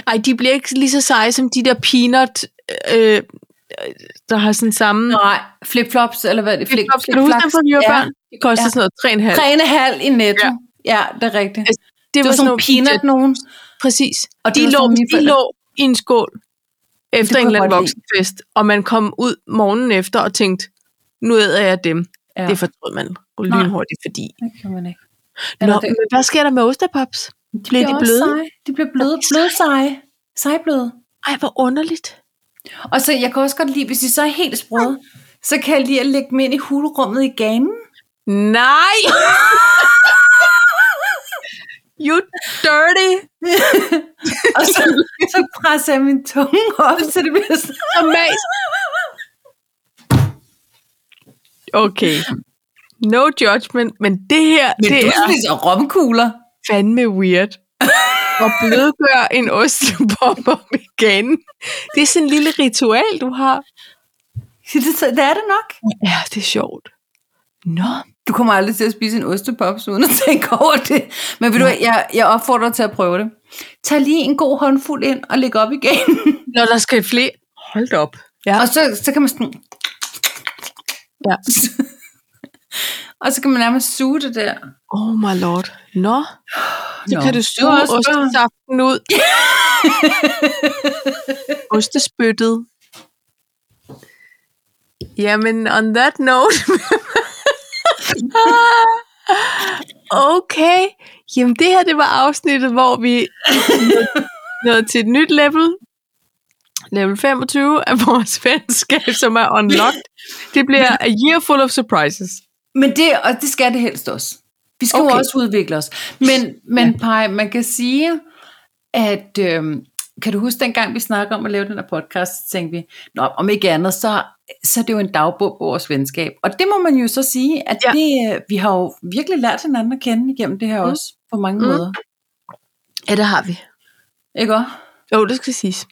B: Ej, de bliver ikke lige så seje som de der peanut, øh, øh, der har sådan samme...
A: Nej, flipflops, eller hvad er det? Flip,
B: Flip-flops. Kan du huske dem fra vi var børn? Det koster
A: Ja.
B: sådan noget 3,5.
A: Rene halv i netto. Ja. ja, det er rigtigt.
B: Altså,
A: Det var, sådan nogle peanut nogen.
B: Præcis. Og
A: Og
B: de,
A: det var
B: lå,
A: sådan, mine
B: de
A: forældre-
B: lå i en skål efter
A: kunne
B: en eller
A: jeg
B: anden
A: godt lide.
B: voksenfest, og man kom ud morgenen efter og tænkte, nu æder jeg dem. Ja.
A: Ja.
B: Det fortrød man lynhurtigt, fordi...
A: Det kan man ikke.
B: Nå,
A: Eller det-
B: men hvad sker der med osterpops?
A: De
B: Bliver de
A: også
B: bløde?
A: Seje. De bliver bløde, bløde seje. Sejbløde.
B: Ej, hvor underligt.
A: Og så, jeg kan også godt lide, hvis de så er helt sprøde, så kan jeg lige at lægge dem ind i hulrummet i ganen.
B: Nej! you dirty!
A: Og så, så presser jeg min tunge op, så det bliver sådan...
B: Amazing. Okay. No judgment, men det her, men det er
A: spiser romkugler.
B: fandme weird. Og blødgør en ostepop igen. Det er sådan en lille ritual, du har.
A: Det, så- det er det nok.
B: Ja, det er sjovt. Nå.
A: Du kommer aldrig til at spise en ostepops, uden at tænke over det. Men ved du, hvad, jeg, jeg opfordrer dig til at prøve det. Tag lige en god håndfuld ind og læg op igen.
B: Når der skal flere... Hold da op. Ja.
A: Og så, så kan man sådan...
B: Ja.
A: og så kan man nærmest suge det der.
B: Oh my lord. Nå. Så
A: Nå,
B: kan du
A: det
B: suge
A: var også børn.
B: ostesaften ud. Ostespyttet. Jamen, on that note. okay. Jamen, det her, det var afsnittet, hvor vi nåede til et nyt level. Level 25 af vores venskab, som er unlocked. Det bliver a year full of surprises.
A: Men det, og det skal det helst også. Vi skal okay.
B: Okay.
A: jo også udvikle os. Men, men ja. Paj, man kan sige, at øhm, kan du huske dengang, vi snakkede om at lave den her podcast, så tænkte vi, Nå, om ikke andet, så, så er det jo en dagbog på vores venskab. Og det må man jo så sige, at
B: Ja.
A: ja. det, øh, vi har jo virkelig lært hinanden at kende igennem det her
B: Mm.
A: mm. også, på mange
B: Mm.
A: mm. måder.
B: Ja, det har vi.
A: Ikke også?
B: Jo, det skal siges.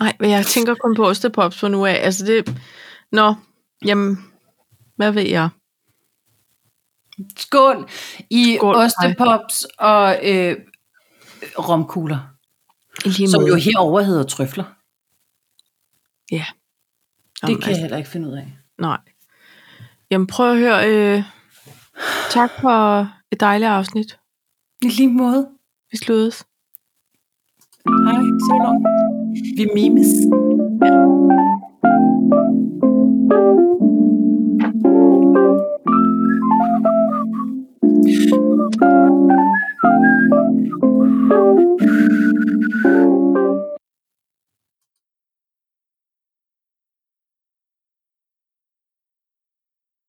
B: Nej, men jeg tænker kun på ostepops for nu af. Altså det... Nå, jamen, hvad ved jeg?
A: Skål i Skål,
B: Skål, Paj.
A: ostepops og øh, romkugler,
B: I Lige
A: som
B: måde.
A: jo herover hedder trøfler.
B: Ja.
A: Det
B: Jamen, altså.
A: kan jeg heller ikke finde ud af.
B: Nej. Jamen, prøv at høre. Øh, tak for et dejligt afsnit.
A: I lige måde.
B: Vi sluttes.
A: Hej, så long. Vi mimes.